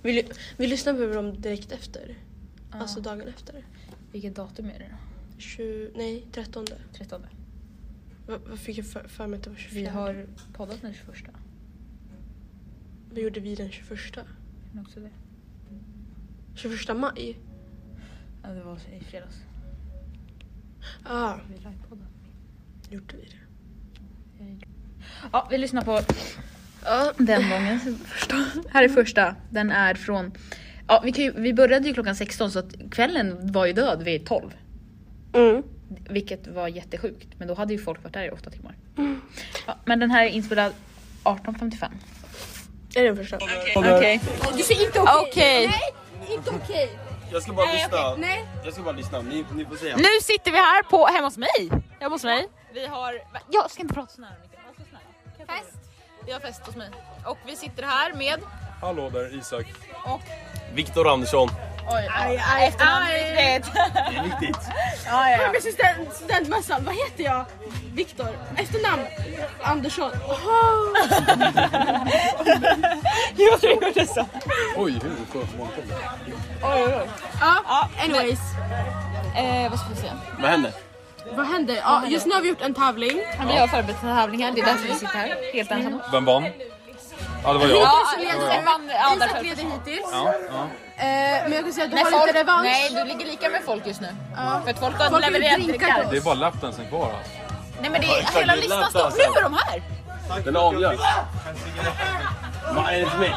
Speaker 3: Vi, ly- vi lyssnade på dem direkt efter. Alltså
Speaker 2: Ja.
Speaker 3: dagen efter.
Speaker 2: Vilket datum är det då?
Speaker 3: 20, nej, 13.
Speaker 2: 13.
Speaker 3: Vad vad fick jag för, för mig att det var 24?
Speaker 2: Vi har poddat den 21.
Speaker 3: Vad gjorde vi den 21?
Speaker 2: Men Också det.
Speaker 3: 21 maj?
Speaker 2: Ja, det var i fredags.
Speaker 3: Ja, ah,
Speaker 2: Vi livepoddade.
Speaker 3: gjorde vi det?
Speaker 2: Ja, vi lyssnar på
Speaker 3: Ja,
Speaker 2: den gången. Första. Här är första. Den är från... Ja, vi, kan ju, vi började ju klockan 16 så att kvällen var ju död vid 12.
Speaker 3: mm.
Speaker 2: Vilket var jättesjukt. Men då hade ju folk varit där i åtta timmar. Ja, men den här är inspelad 18.55.
Speaker 3: Är det den första?
Speaker 2: Okej.
Speaker 4: Okej.
Speaker 5: Jag ska bara lyssna. Jag ska bara lyssna. Ni, ni får säga.
Speaker 4: Nu sitter vi här på, hemma hos mig. Hemma hos mig. Vi har... Jag ska inte prata så nära Mikael. Var så snäll. Fest. Vi har fest hos mig. Och vi sitter här med...
Speaker 5: Hallå där Isak. Viktor Andersson.
Speaker 4: Oj, aj, aj, efternamnet.
Speaker 5: Det är viktigt.
Speaker 3: Student, studentmössan, vad heter jag? Viktor. Efternamn? Andersson.
Speaker 5: Oj, hur skönt man kommer.
Speaker 3: Anyways,
Speaker 4: <laughs> Eh, vad ska vi säga?
Speaker 5: Vad händer?
Speaker 3: vad händer? Ja, just nu har vi gjort en tävling.
Speaker 4: Vi har förberett tävlingar. Det är därför vi sitter här.
Speaker 2: här. Helt ensam.
Speaker 5: Vem vann? Ja, det var jag.
Speaker 4: Mm. Ja,
Speaker 3: Isak leder.
Speaker 4: Isak vann andra
Speaker 3: Isak
Speaker 4: först.
Speaker 3: leder hittills.
Speaker 5: Ja, ja.
Speaker 3: Eh, men jag kan säga att du
Speaker 4: Men
Speaker 3: har lite
Speaker 4: folk,
Speaker 3: revansch.
Speaker 4: nej, du ligger lika med folk just nu. För att folk har
Speaker 3: Folk vill
Speaker 4: levererat
Speaker 3: drinka
Speaker 4: drinkar.
Speaker 3: på
Speaker 6: Det är bara lapdansen kvar alltså.
Speaker 4: Nej men det
Speaker 5: Ja,
Speaker 4: är,
Speaker 5: exakt,
Speaker 4: hela
Speaker 5: det är
Speaker 4: listan står...
Speaker 5: lapdansen.
Speaker 4: Nu är de här!
Speaker 5: Den avgörs. Vad är det för mig?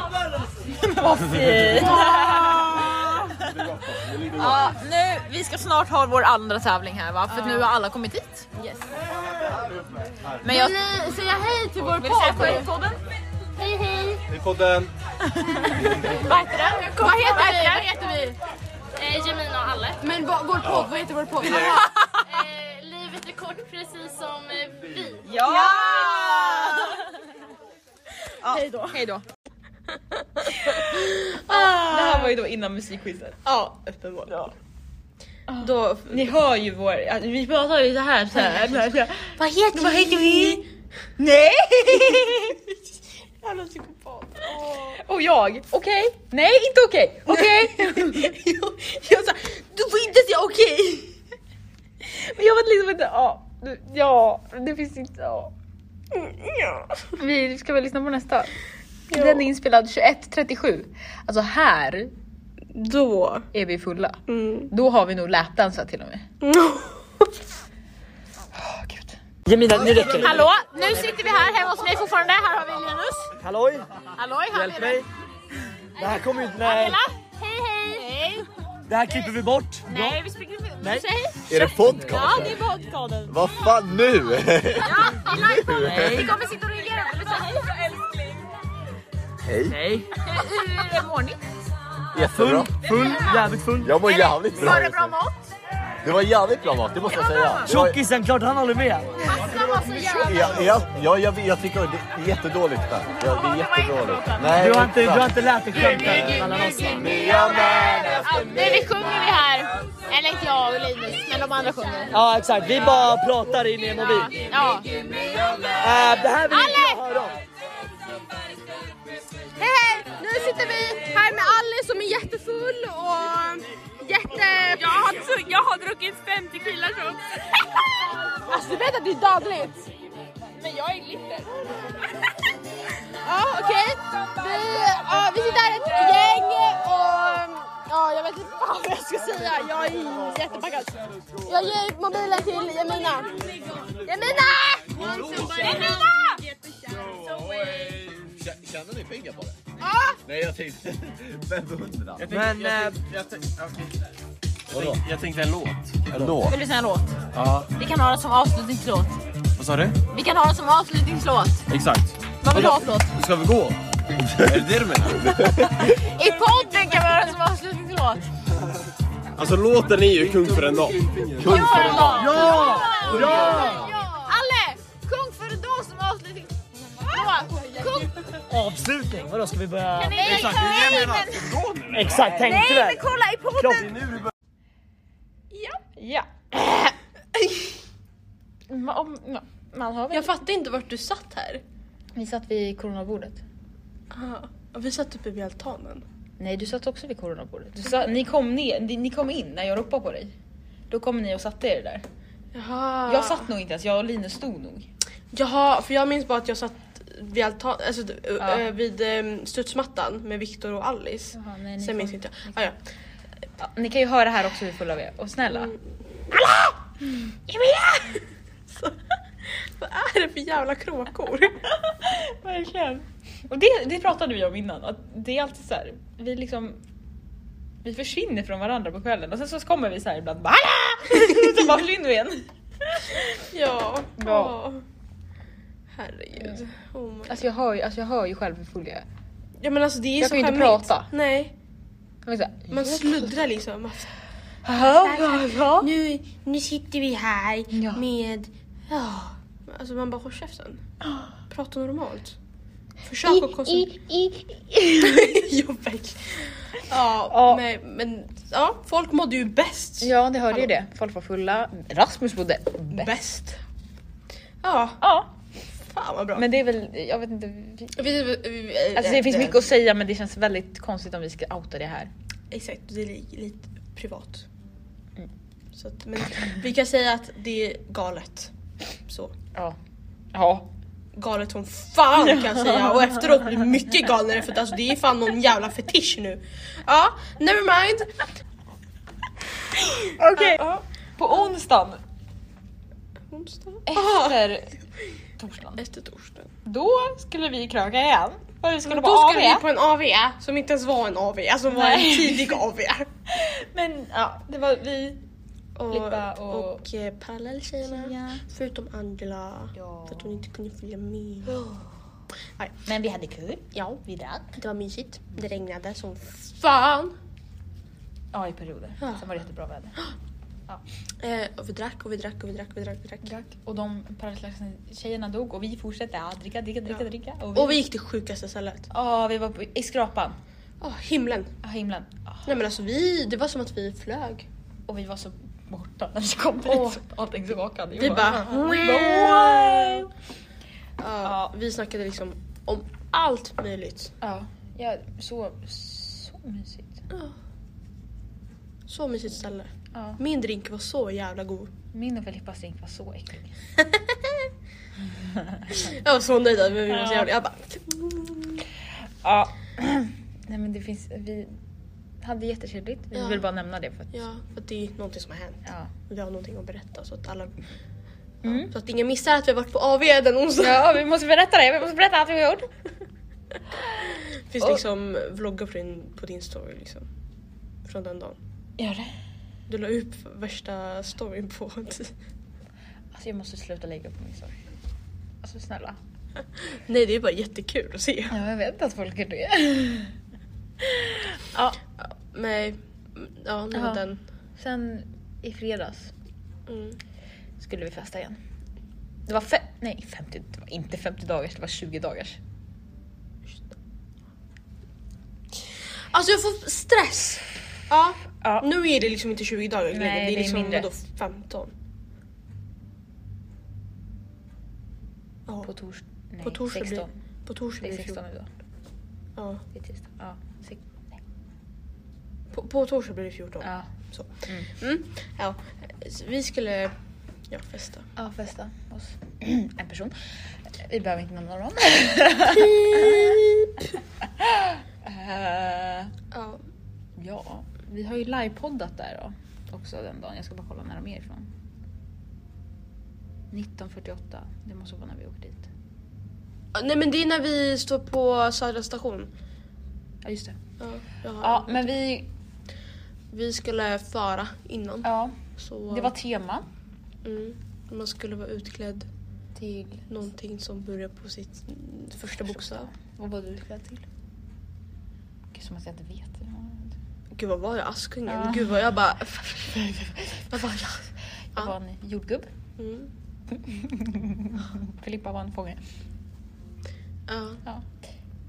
Speaker 4: Ja, nu, vi ska snart ha vår andra tävling här va? För nu har alla kommit hit. Yes. Men jag... Vill ni säga hej till vår podd? Vill du säga podden?
Speaker 5: I podden.
Speaker 4: Vad heter den? Vad heter vi? Vad heter vi?
Speaker 7: Eh, Jamina och Alle.
Speaker 3: Men va, vår podd, vad heter vår podd?
Speaker 7: Eh, livet är kort precis som eh, vi.
Speaker 4: Ja! Hej då.
Speaker 2: <laughs>
Speaker 4: Hej då.
Speaker 2: Det här var ju då innan musikquizet.
Speaker 3: Ja, uppenbarligen. Då,
Speaker 2: Ni hör ju vår... ja, Vi pratar ju så här. Så här.
Speaker 4: <laughs>
Speaker 2: Vad heter Vad heter vi? Nej!
Speaker 3: <laughs> jävla psykopat.
Speaker 2: Och jag. Okej. Nej, inte okej.
Speaker 4: <laughs>
Speaker 2: Okej.
Speaker 3: jag jag sa, du får inte säga okej.
Speaker 2: Men jag vet liksom inte... Ja. Ja, det finns inte... Ja.
Speaker 3: Ja.
Speaker 2: Vi ska väl lyssna på nästa? Den är inspelad 21.37. Alltså här
Speaker 3: Då.
Speaker 2: är vi fulla.
Speaker 3: Mm.
Speaker 2: Då har vi nog lapdansat till och med. Åh gud.
Speaker 8: Jemina, nu räcker det.
Speaker 4: Hallå! Nu sitter vi här hemma hos mig fortfarande. Här har vi Linus.
Speaker 8: Halloj,
Speaker 4: Halloj, han
Speaker 8: hjälp
Speaker 4: är
Speaker 8: mig. Det här kommer ut, nej.
Speaker 4: Hela. Hej hej! Hej!
Speaker 8: Det här klipper vi bort.
Speaker 4: Nej, vi springer inte.
Speaker 8: Nej.
Speaker 4: Du säger hej.
Speaker 9: Är det
Speaker 4: Ja,
Speaker 9: podcast?
Speaker 4: det är podcasten.
Speaker 9: Vad fan nu?
Speaker 4: Ja, det är livepodden. Vi kommer sitta och reagera. Vill du säga hej? Älskling.
Speaker 8: Nej.
Speaker 4: Hur mår ni?
Speaker 9: Jättebra.
Speaker 8: Full, jävligt full.
Speaker 9: Jag mår jävligt bra.
Speaker 4: Var det bra mat?
Speaker 9: Det var jävligt bra mat, det måste jag säga. Jag,
Speaker 8: Tjockisen, klart han håller med.
Speaker 4: Hassan var så jävla...
Speaker 9: jag, jag, jag, jag, jag tycker det är jättedåligt där. Ja, det är jättedåligt. Nej,
Speaker 8: Du har inte, du har
Speaker 9: exakt.
Speaker 8: inte lärt dig skämtet. alla loss.
Speaker 4: Ja, nu sjunger vi här. Eller inte jag och Linus, men de andra sjunger.
Speaker 8: Ja exakt, vi bara pratar in i en mobil.
Speaker 4: Ja.
Speaker 8: Eh, det här vill inte jag höra om.
Speaker 3: Hej hej! Nu sitter vi här med Alice som är jättefull och jätte... Jag har, jag har druckit 50 tequila shots. <laughs> alltså du vet att det är dagligt? Men jag är glitter. ja okej. Vi, ja, vi sitter här ett gäng och ja, jag vet inte fan vad jag ska säga. Jag är jättepackad. Jag ger mobilen till Jemina. Jemina! Jemina!
Speaker 9: Tjänar ni pengar på det?
Speaker 3: Ja!
Speaker 9: Nej, jag tänkte 500.
Speaker 8: Men eh,
Speaker 9: Vadå?
Speaker 5: Jag tänkte en låt.
Speaker 9: Ändå.
Speaker 4: Vill du säga en låt?
Speaker 5: Ja.
Speaker 4: Vi kan ha den som avslutningslåt.
Speaker 5: Vad sa du?
Speaker 4: Vi kan ha den som avslutningslåt.
Speaker 5: Exakt.
Speaker 4: Vad vill du ha för låt?
Speaker 5: Ska vi gå? Är det det du <laughs> menar?
Speaker 4: I podden kan vi ha den som avslutningslåt.
Speaker 5: Alltså låten är ju Kung för en dag.
Speaker 4: Ja! Ja!
Speaker 8: ja!
Speaker 4: Alle!
Speaker 8: avslutning. Vadå ska vi börja?
Speaker 5: Exakt, det är det jag menar. Ska vi gå nu?
Speaker 8: Exakt, tänkte väl.
Speaker 4: kolla i
Speaker 8: Klopp.
Speaker 5: Det är nu vi börjar.
Speaker 2: <coughs> Ja. Ma- om- ma- Man har väl...
Speaker 3: Jag fattar inte vart du satt här.
Speaker 2: Vi satt vid coronabordet.
Speaker 3: Aha. Ja, Vi satt uppe vid altanen.
Speaker 2: Nej, du satt också vid coronabordet. Du sa, ni, kom ner, ni, ni kom in när jag ropade på dig. Då kom ni och satte er där.
Speaker 3: Jaha.
Speaker 2: Jag satt nog inte ens, jag och Linus stod nog.
Speaker 3: Jaha, för jag minns bara att jag satt vid, altan, alltså, d- ö-
Speaker 2: Ja.
Speaker 3: ö, vid um, studsmattan med Viktor och Alice.
Speaker 2: Jaha, nej, ni
Speaker 3: Sen minns
Speaker 2: kom-
Speaker 3: inte jag. Ah, ja.
Speaker 2: Ja, ni kan ju höra här också hur fulla vi är. Och snälla. Mm.
Speaker 3: Vad är det för jävla kråkor?
Speaker 2: <laughs> Verkligen. Och det, det pratade vi om innan, att det är alltid så här, vi liksom vi försvinner från varandra på kvällen och sen så kommer vi så här ibland bara "Hallå!" <laughs> och så bara försvinner vi igen.
Speaker 3: <laughs> ja.
Speaker 2: Ja.
Speaker 3: ja. Herregud. Oh my.
Speaker 2: Alltså jag hör ju, alltså jag hör ju själv hur full jag är.
Speaker 3: Ja, men alltså, det är
Speaker 2: Jag
Speaker 3: så
Speaker 2: kan ju inte
Speaker 3: skämmigt.
Speaker 2: prata.
Speaker 3: Nej,
Speaker 2: Jag är så här,
Speaker 3: man sluddrar liksom. Man-
Speaker 2: "Jaha, <laughs> ja, ja."
Speaker 3: Nu, nu sitter vi här
Speaker 2: Ja.
Speaker 3: med... Ja. Alltså man bara
Speaker 2: <gasps>
Speaker 3: håll käften. Prata normalt. Försök att koncentrera <laughs> Ja, verkligen.
Speaker 2: Ja.
Speaker 3: Ja, nej, men ja, folk mådde ju bäst.
Speaker 2: Ja, det hörde ju det. Folk var fulla. Rasmus bodde bäst.
Speaker 3: Bäst. Ja,
Speaker 2: Ja,
Speaker 3: fan vad bra.
Speaker 2: men det är väl, jag vet inte. vi-
Speaker 3: Vi- vi- vi-
Speaker 2: Alltså det finns mycket att säga men det känns väldigt konstigt om vi ska outa det här.
Speaker 3: Exakt, det är li- lite privat.
Speaker 2: Mm.
Speaker 3: Så att, men vi kan säga att det är galet. Så.
Speaker 2: Ja. Ja.
Speaker 3: Galet som fan kan jag säga och efteråt blir det mycket galnare för att alltså, det är fan någon jävla fetisch nu. Ja, never mind.
Speaker 2: Okej. På onsdagen
Speaker 3: Onsdag?
Speaker 2: efter torsdagen.
Speaker 3: Efter torsdag.
Speaker 2: Då skulle vi kröka igen. För vi skulle
Speaker 3: Men
Speaker 2: på
Speaker 3: då
Speaker 2: AV.
Speaker 3: skulle vi på en AV som inte ens var en AV, som var en
Speaker 2: Nej.
Speaker 3: tidig AV.
Speaker 2: Men ja, det var vi.
Speaker 3: <laughs> Och,
Speaker 2: Filippa och-
Speaker 3: och eh, parallelltjejerna. Förutom Angela. För att hon inte kunde följa med.
Speaker 2: Men vi hade kul.
Speaker 3: Ja,
Speaker 2: Vi drack.
Speaker 3: det var mysigt. Det regnade som fan.
Speaker 2: Ja, i perioder.
Speaker 3: Ja.
Speaker 2: Sen var det jättebra väder.
Speaker 3: Eh, och vi drack och vi drack och vi drack och vi drack. Och vi, drack.
Speaker 2: Och de parallellklasstjejerna dog och vi fortsatte ja, dricka, dricka, dricka, dricka.
Speaker 3: Och vi gick till sjukaste stället.
Speaker 2: Ja, vi var på, i skrapan.
Speaker 3: Åh, himlen.
Speaker 2: Ja, himlen. Ja.
Speaker 3: Nej men alltså vi, det var som att vi flög.
Speaker 2: Och vi var så borta när vi kom dit.
Speaker 3: Åh.
Speaker 2: Allting så vakade.
Speaker 3: Vi bara...
Speaker 2: wow.
Speaker 3: Ja, vi snackade liksom om allt möjligt.
Speaker 2: Ja, ja så, så mysigt.
Speaker 3: Så mysigt ställe.
Speaker 2: Ja.
Speaker 3: Min drink var så jävla god.
Speaker 2: Min och Filippas drink var så äcklig.
Speaker 3: Jag var så nöjd över hur vi var så
Speaker 2: Ja.
Speaker 3: jävla... Jag bara...
Speaker 2: Ja. <clears throat> Nej men det finns, vi hade jättetrevligt. Vi
Speaker 3: Ja.
Speaker 2: vill bara nämna det för att,
Speaker 3: Ja, för att det är någonting som har hänt.
Speaker 2: ja.
Speaker 3: Vi har någonting att berätta så att alla...
Speaker 2: Mm.
Speaker 3: Så att ingen missar att vi har varit på AV den onsdagen.
Speaker 2: Ja, vi måste berätta det, vi måste berätta allt vi har gjort.
Speaker 3: Finns
Speaker 2: Och-
Speaker 3: liksom vloggar på din, på din story liksom. Från den dagen.
Speaker 2: Gör det?
Speaker 3: Du la upp värsta storyn på... <laughs>
Speaker 2: Alltså jag måste sluta lägga upp min story. Alltså snälla.
Speaker 3: Nej det är bara jättekul att se.
Speaker 2: Ja, jag vet att folk gör det.
Speaker 3: Nej, ja nu
Speaker 2: Ja.
Speaker 3: var den.
Speaker 2: Sen i fredags
Speaker 3: Mm.
Speaker 2: skulle vi festa igen. Det var fe- nej 50, det var inte 50 dagars, det var 20 dagars.
Speaker 3: Alltså jag får stress! Ja.
Speaker 2: Ja.
Speaker 3: Nu är det liksom inte 20 dagar längre,
Speaker 2: Nej,
Speaker 3: det är liksom
Speaker 2: mindre.
Speaker 3: vadå 15? Ja,
Speaker 2: På torsdag, nej
Speaker 3: På torsdag blir-
Speaker 2: 16.
Speaker 3: på torsdag
Speaker 2: Det är
Speaker 3: blir det 14.
Speaker 2: 16 idag.
Speaker 3: Ja.
Speaker 2: Det är tisdag. Ja, sex- nej.
Speaker 3: På, på torsdag blir det 14.
Speaker 2: ja.
Speaker 3: Så. Mm. Ja. Så vi skulle ja,
Speaker 2: <laughs>
Speaker 3: festa.
Speaker 2: ja festa hos <clears throat> en person. Vi behöver inte nämna någon. Eh,
Speaker 3: Ja.
Speaker 2: ja, vi har ju livepoddat där då. Också den dagen. Jag ska bara kolla när de är ifrån. 19.48. Det måste vara när vi åker dit.
Speaker 3: Nej men det är när vi står på Södra station.
Speaker 2: Ja just det.
Speaker 3: Ja, jag har-
Speaker 2: Ja men vi...
Speaker 3: Vi skulle fara innan.
Speaker 2: Ja,
Speaker 3: Så,
Speaker 2: det var tema.
Speaker 3: mm, man skulle vara utklädd
Speaker 2: Till...
Speaker 3: någonting som börjar på sitt mm, första bokstav.
Speaker 2: Vad var du utklädd till? Gud som att jag inte vet.
Speaker 3: Gud vad var jag? Askungen?
Speaker 2: Ja.
Speaker 3: Gud vad jag bara... <laughs> Vad var jag?
Speaker 2: Jag
Speaker 3: Ja.
Speaker 2: var en jordgubb.
Speaker 3: Mm.
Speaker 2: Filippa var en fånge.
Speaker 3: Ja.
Speaker 2: Ja.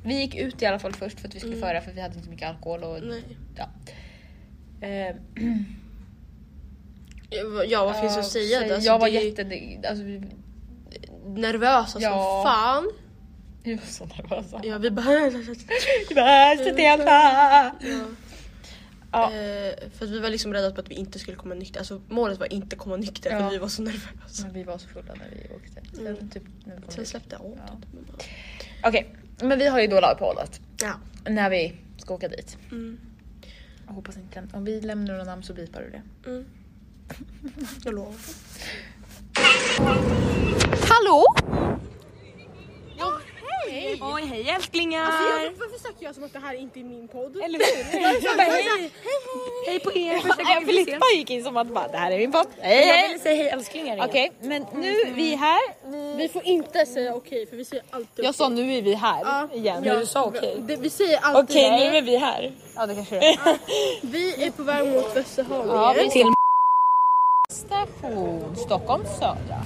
Speaker 2: Vi gick ut i alla fall först för att vi
Speaker 3: Mm.
Speaker 2: skulle föra för vi hade inte mycket alkohol. Och,
Speaker 3: Nej.
Speaker 2: Ja. Eh,
Speaker 3: Ja, vad finns det att
Speaker 2: ja,
Speaker 3: säga?
Speaker 2: så
Speaker 3: Alltså,
Speaker 2: jag var
Speaker 3: det är
Speaker 2: jätte... Alltså, vi,
Speaker 3: nervösa som
Speaker 2: Ja.
Speaker 3: fan.
Speaker 2: vi var så nervösa.
Speaker 3: Ja, vi bara... <laughs>
Speaker 2: Vi bara, "Stefan!" Ja.
Speaker 3: Eh, för att vi var liksom rädda för att vi inte skulle komma nykter. Alltså målet var inte komma nykter för
Speaker 2: Ja.
Speaker 3: vi var så nervösa.
Speaker 2: Men vi var så fulla när vi åkte. Sen, typ, när vi kom
Speaker 3: Mm. Sen
Speaker 2: ut.
Speaker 3: släppte jag
Speaker 2: Ja.
Speaker 3: åt.
Speaker 2: Okej, men vi har ju då lagpålet
Speaker 3: Ja.
Speaker 2: när vi ska åka dit.
Speaker 3: Mm.
Speaker 2: Jag hoppas inte, om vi lämnar några namn så bipar du det.
Speaker 3: Jag lovar.
Speaker 4: Hallå? hej! Oj, hej älsklingar!
Speaker 3: Varför söker jag som att det här inte är min podd?
Speaker 4: Eller hur? Jag bara, hej, hej, hej på er! Första gången Filippa gick in som att bara, det här är min podd. Hej, hej! Jag ville säga hej älsklingar igen. Okej, men nu vi är här.
Speaker 3: Vi får inte säga okej för vi säger alltid
Speaker 4: Jag sa nu är vi här igen.
Speaker 3: Ja.
Speaker 4: Du sa okej.
Speaker 3: Det- Vi säger alltid
Speaker 4: Okej,
Speaker 3: nej.
Speaker 4: nu är vi här. Ja, det kanske det är.
Speaker 3: Vi är på väg mot Västerhavet.
Speaker 4: Ja, vi till station Stockholm
Speaker 2: <laughs>
Speaker 4: södra.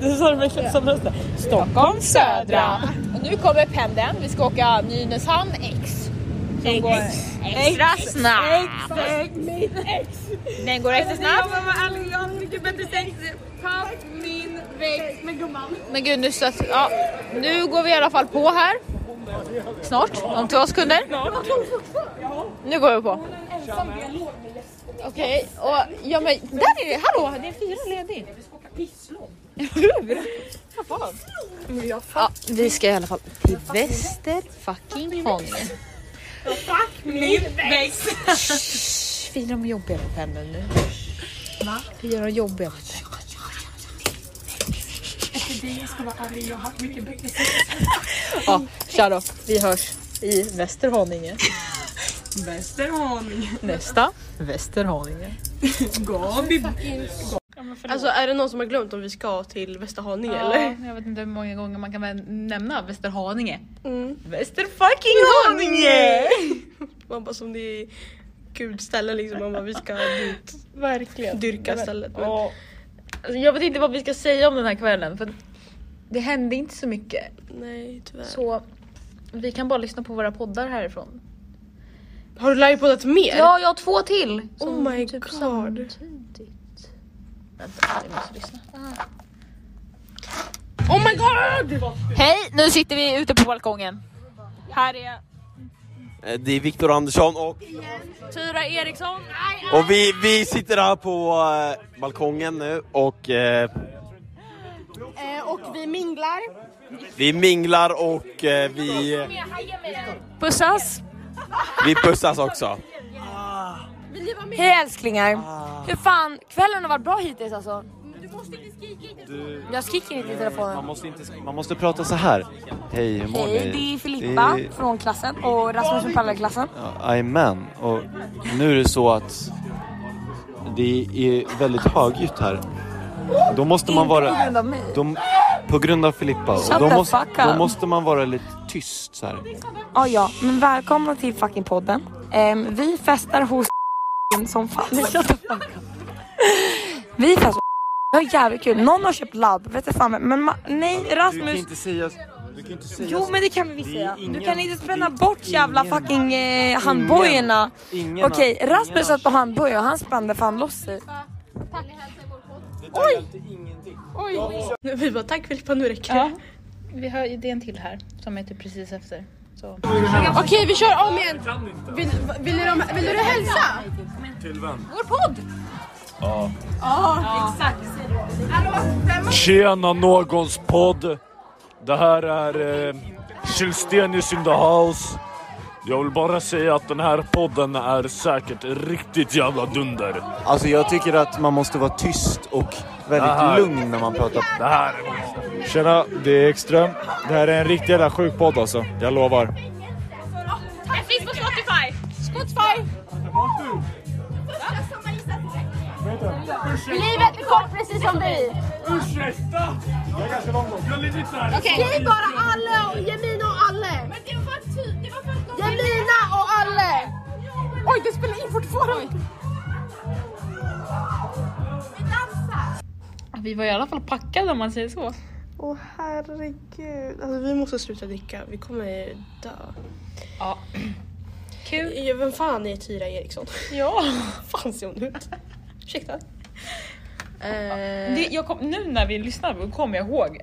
Speaker 4: det sa du verkligen som rösten. Stockholm södra. Och nu kommer pendeln. Vi ska åka Nynäshamn X. Som går extra snabbt. Den går extra snabbt. Men gud, nu, stöts, ja, nu går vi i alla fall på här. Snart, om två sekunder. Nu går vi på. Okej, och ja men där är det, hallå, det är fyra ledig. Hur? Ja, vi ska i alla fall till väster fucking Haninge. Fuck min växt! Vi är de jobbiga på pendeln nu. Va? Vi är de jobbiga på pendeln. Ja, tja då. Vi hörs i Västerhaninge. Västerhaninge. Nästa. Västerhaninge.
Speaker 3: Alltså är det någon som har glömt om vi ska till Västerhaninge eller?
Speaker 2: jag vet inte hur många gånger man kan väl nämna Västerhaninge.
Speaker 3: Mm.
Speaker 2: Västerfuckinghaninge!
Speaker 3: Man bara som det är gud ställe liksom. Man bara vi ska dit
Speaker 2: Verkligen.
Speaker 3: dyrka stället. Men,
Speaker 2: Alltså, jag vet inte vad vi ska säga om den här kvällen för det hände inte så mycket.
Speaker 3: nej tyvärr.
Speaker 2: Så vi kan bara lyssna på våra poddar härifrån.
Speaker 3: Har du livepoddat mer?
Speaker 2: Ja, jag har två till!
Speaker 3: Oh my god.
Speaker 2: typ samtidigt. Vänta, vi måste lyssna.
Speaker 3: Oh my god!
Speaker 4: Hej, nu sitter vi ute på balkongen. Här är
Speaker 5: Eh, Det är Viktor Andersson och
Speaker 4: Tyra Eriksson.
Speaker 5: Och vi, vi sitter här på eh, balkongen nu och... Eh, och vi minglar. Vi minglar och eh, vi,
Speaker 4: Pussas.
Speaker 5: vi pussas också.
Speaker 6: Hej älsklingar!
Speaker 4: Ah.
Speaker 6: Hur fan, kvällen har varit bra hittills alltså. Jag skriker inte i telefonen.
Speaker 9: måste, man måste prata så här. Hej, hur mår
Speaker 6: Hej, det är Filippa från klassen och Rasmus från parallellklassen.
Speaker 9: Jajamän. Och nu är det så att det är väldigt högljutt här. Då måste man vara...
Speaker 6: Inte på grund av mig.
Speaker 9: De, på grund av Filippa.
Speaker 6: Shut
Speaker 9: Och då,
Speaker 6: the
Speaker 9: måste,
Speaker 6: fuck
Speaker 9: då
Speaker 6: up.
Speaker 9: måste man vara lite tyst så här.
Speaker 6: Ja, Ah, ja, men välkomna till fucking podden. Ehm, vi festar hos <laughs> som
Speaker 9: <laughs>
Speaker 6: fan. Nej, shut the fuck up. Vi festar hos <laughs> det var jävligt kul. Någon har köpt ladd, vet du fan vem. Men ma- nej, Rasmus.
Speaker 9: säga... Du kan inte säga
Speaker 6: Jo men det kan vi
Speaker 9: Det
Speaker 6: visst
Speaker 9: är
Speaker 6: säga. Du
Speaker 9: ingen-
Speaker 6: kan inte spänna
Speaker 9: det är
Speaker 6: bort jävla
Speaker 9: ingen-
Speaker 6: fucking eh, handbojorna.
Speaker 9: Ingen
Speaker 6: Okej,
Speaker 9: har-
Speaker 6: Rasmus
Speaker 9: ingen
Speaker 6: satt på handbojor och han spände fan loss sig.
Speaker 3: <laughs> Vi bara tack Filippa nu räcker det.
Speaker 2: Ja. Vi har ju det en till här som är typ precis efter. Så.
Speaker 3: Okej vi kör om igen. Vill, vill, ni de, vill du hälsa?
Speaker 10: Tjena någons podd. Det här är eh, Kjellstenius in the house. Jag vill bara säga att den här podden är säkert riktigt jävla dunder.
Speaker 9: Alltså jag tycker att man måste vara tyst och väldigt
Speaker 10: Aha.
Speaker 9: lugn när man pratar.
Speaker 10: Det här är bra.
Speaker 11: Tjena, det är Ekström. Det här är en riktig jävla sjuk podd alltså. Jag lovar.
Speaker 4: Den finns på Spotify. Spotify.
Speaker 7: Livet är kort precis som vi.
Speaker 10: Ursäkta! Jag är ganska lång gång.
Speaker 7: Skriv bara alla och Jemina och alla. Men det var ty- det var för att Jemina och alla. Oj, det spelar in fortfarande.
Speaker 2: Vi var i alla fall packade om man säger så.
Speaker 3: Åh herregud. Alltså vi måste sluta dricka, vi kommer dö.
Speaker 2: Ja.
Speaker 3: Kul. Ja, vem fan är Tyra Eriksson? <laughs>
Speaker 2: Ja.
Speaker 3: fan ser hon ut? Ursäkta. Eh,
Speaker 2: Det, jag kom, nu när vi lyssnade på det kommer jag ihåg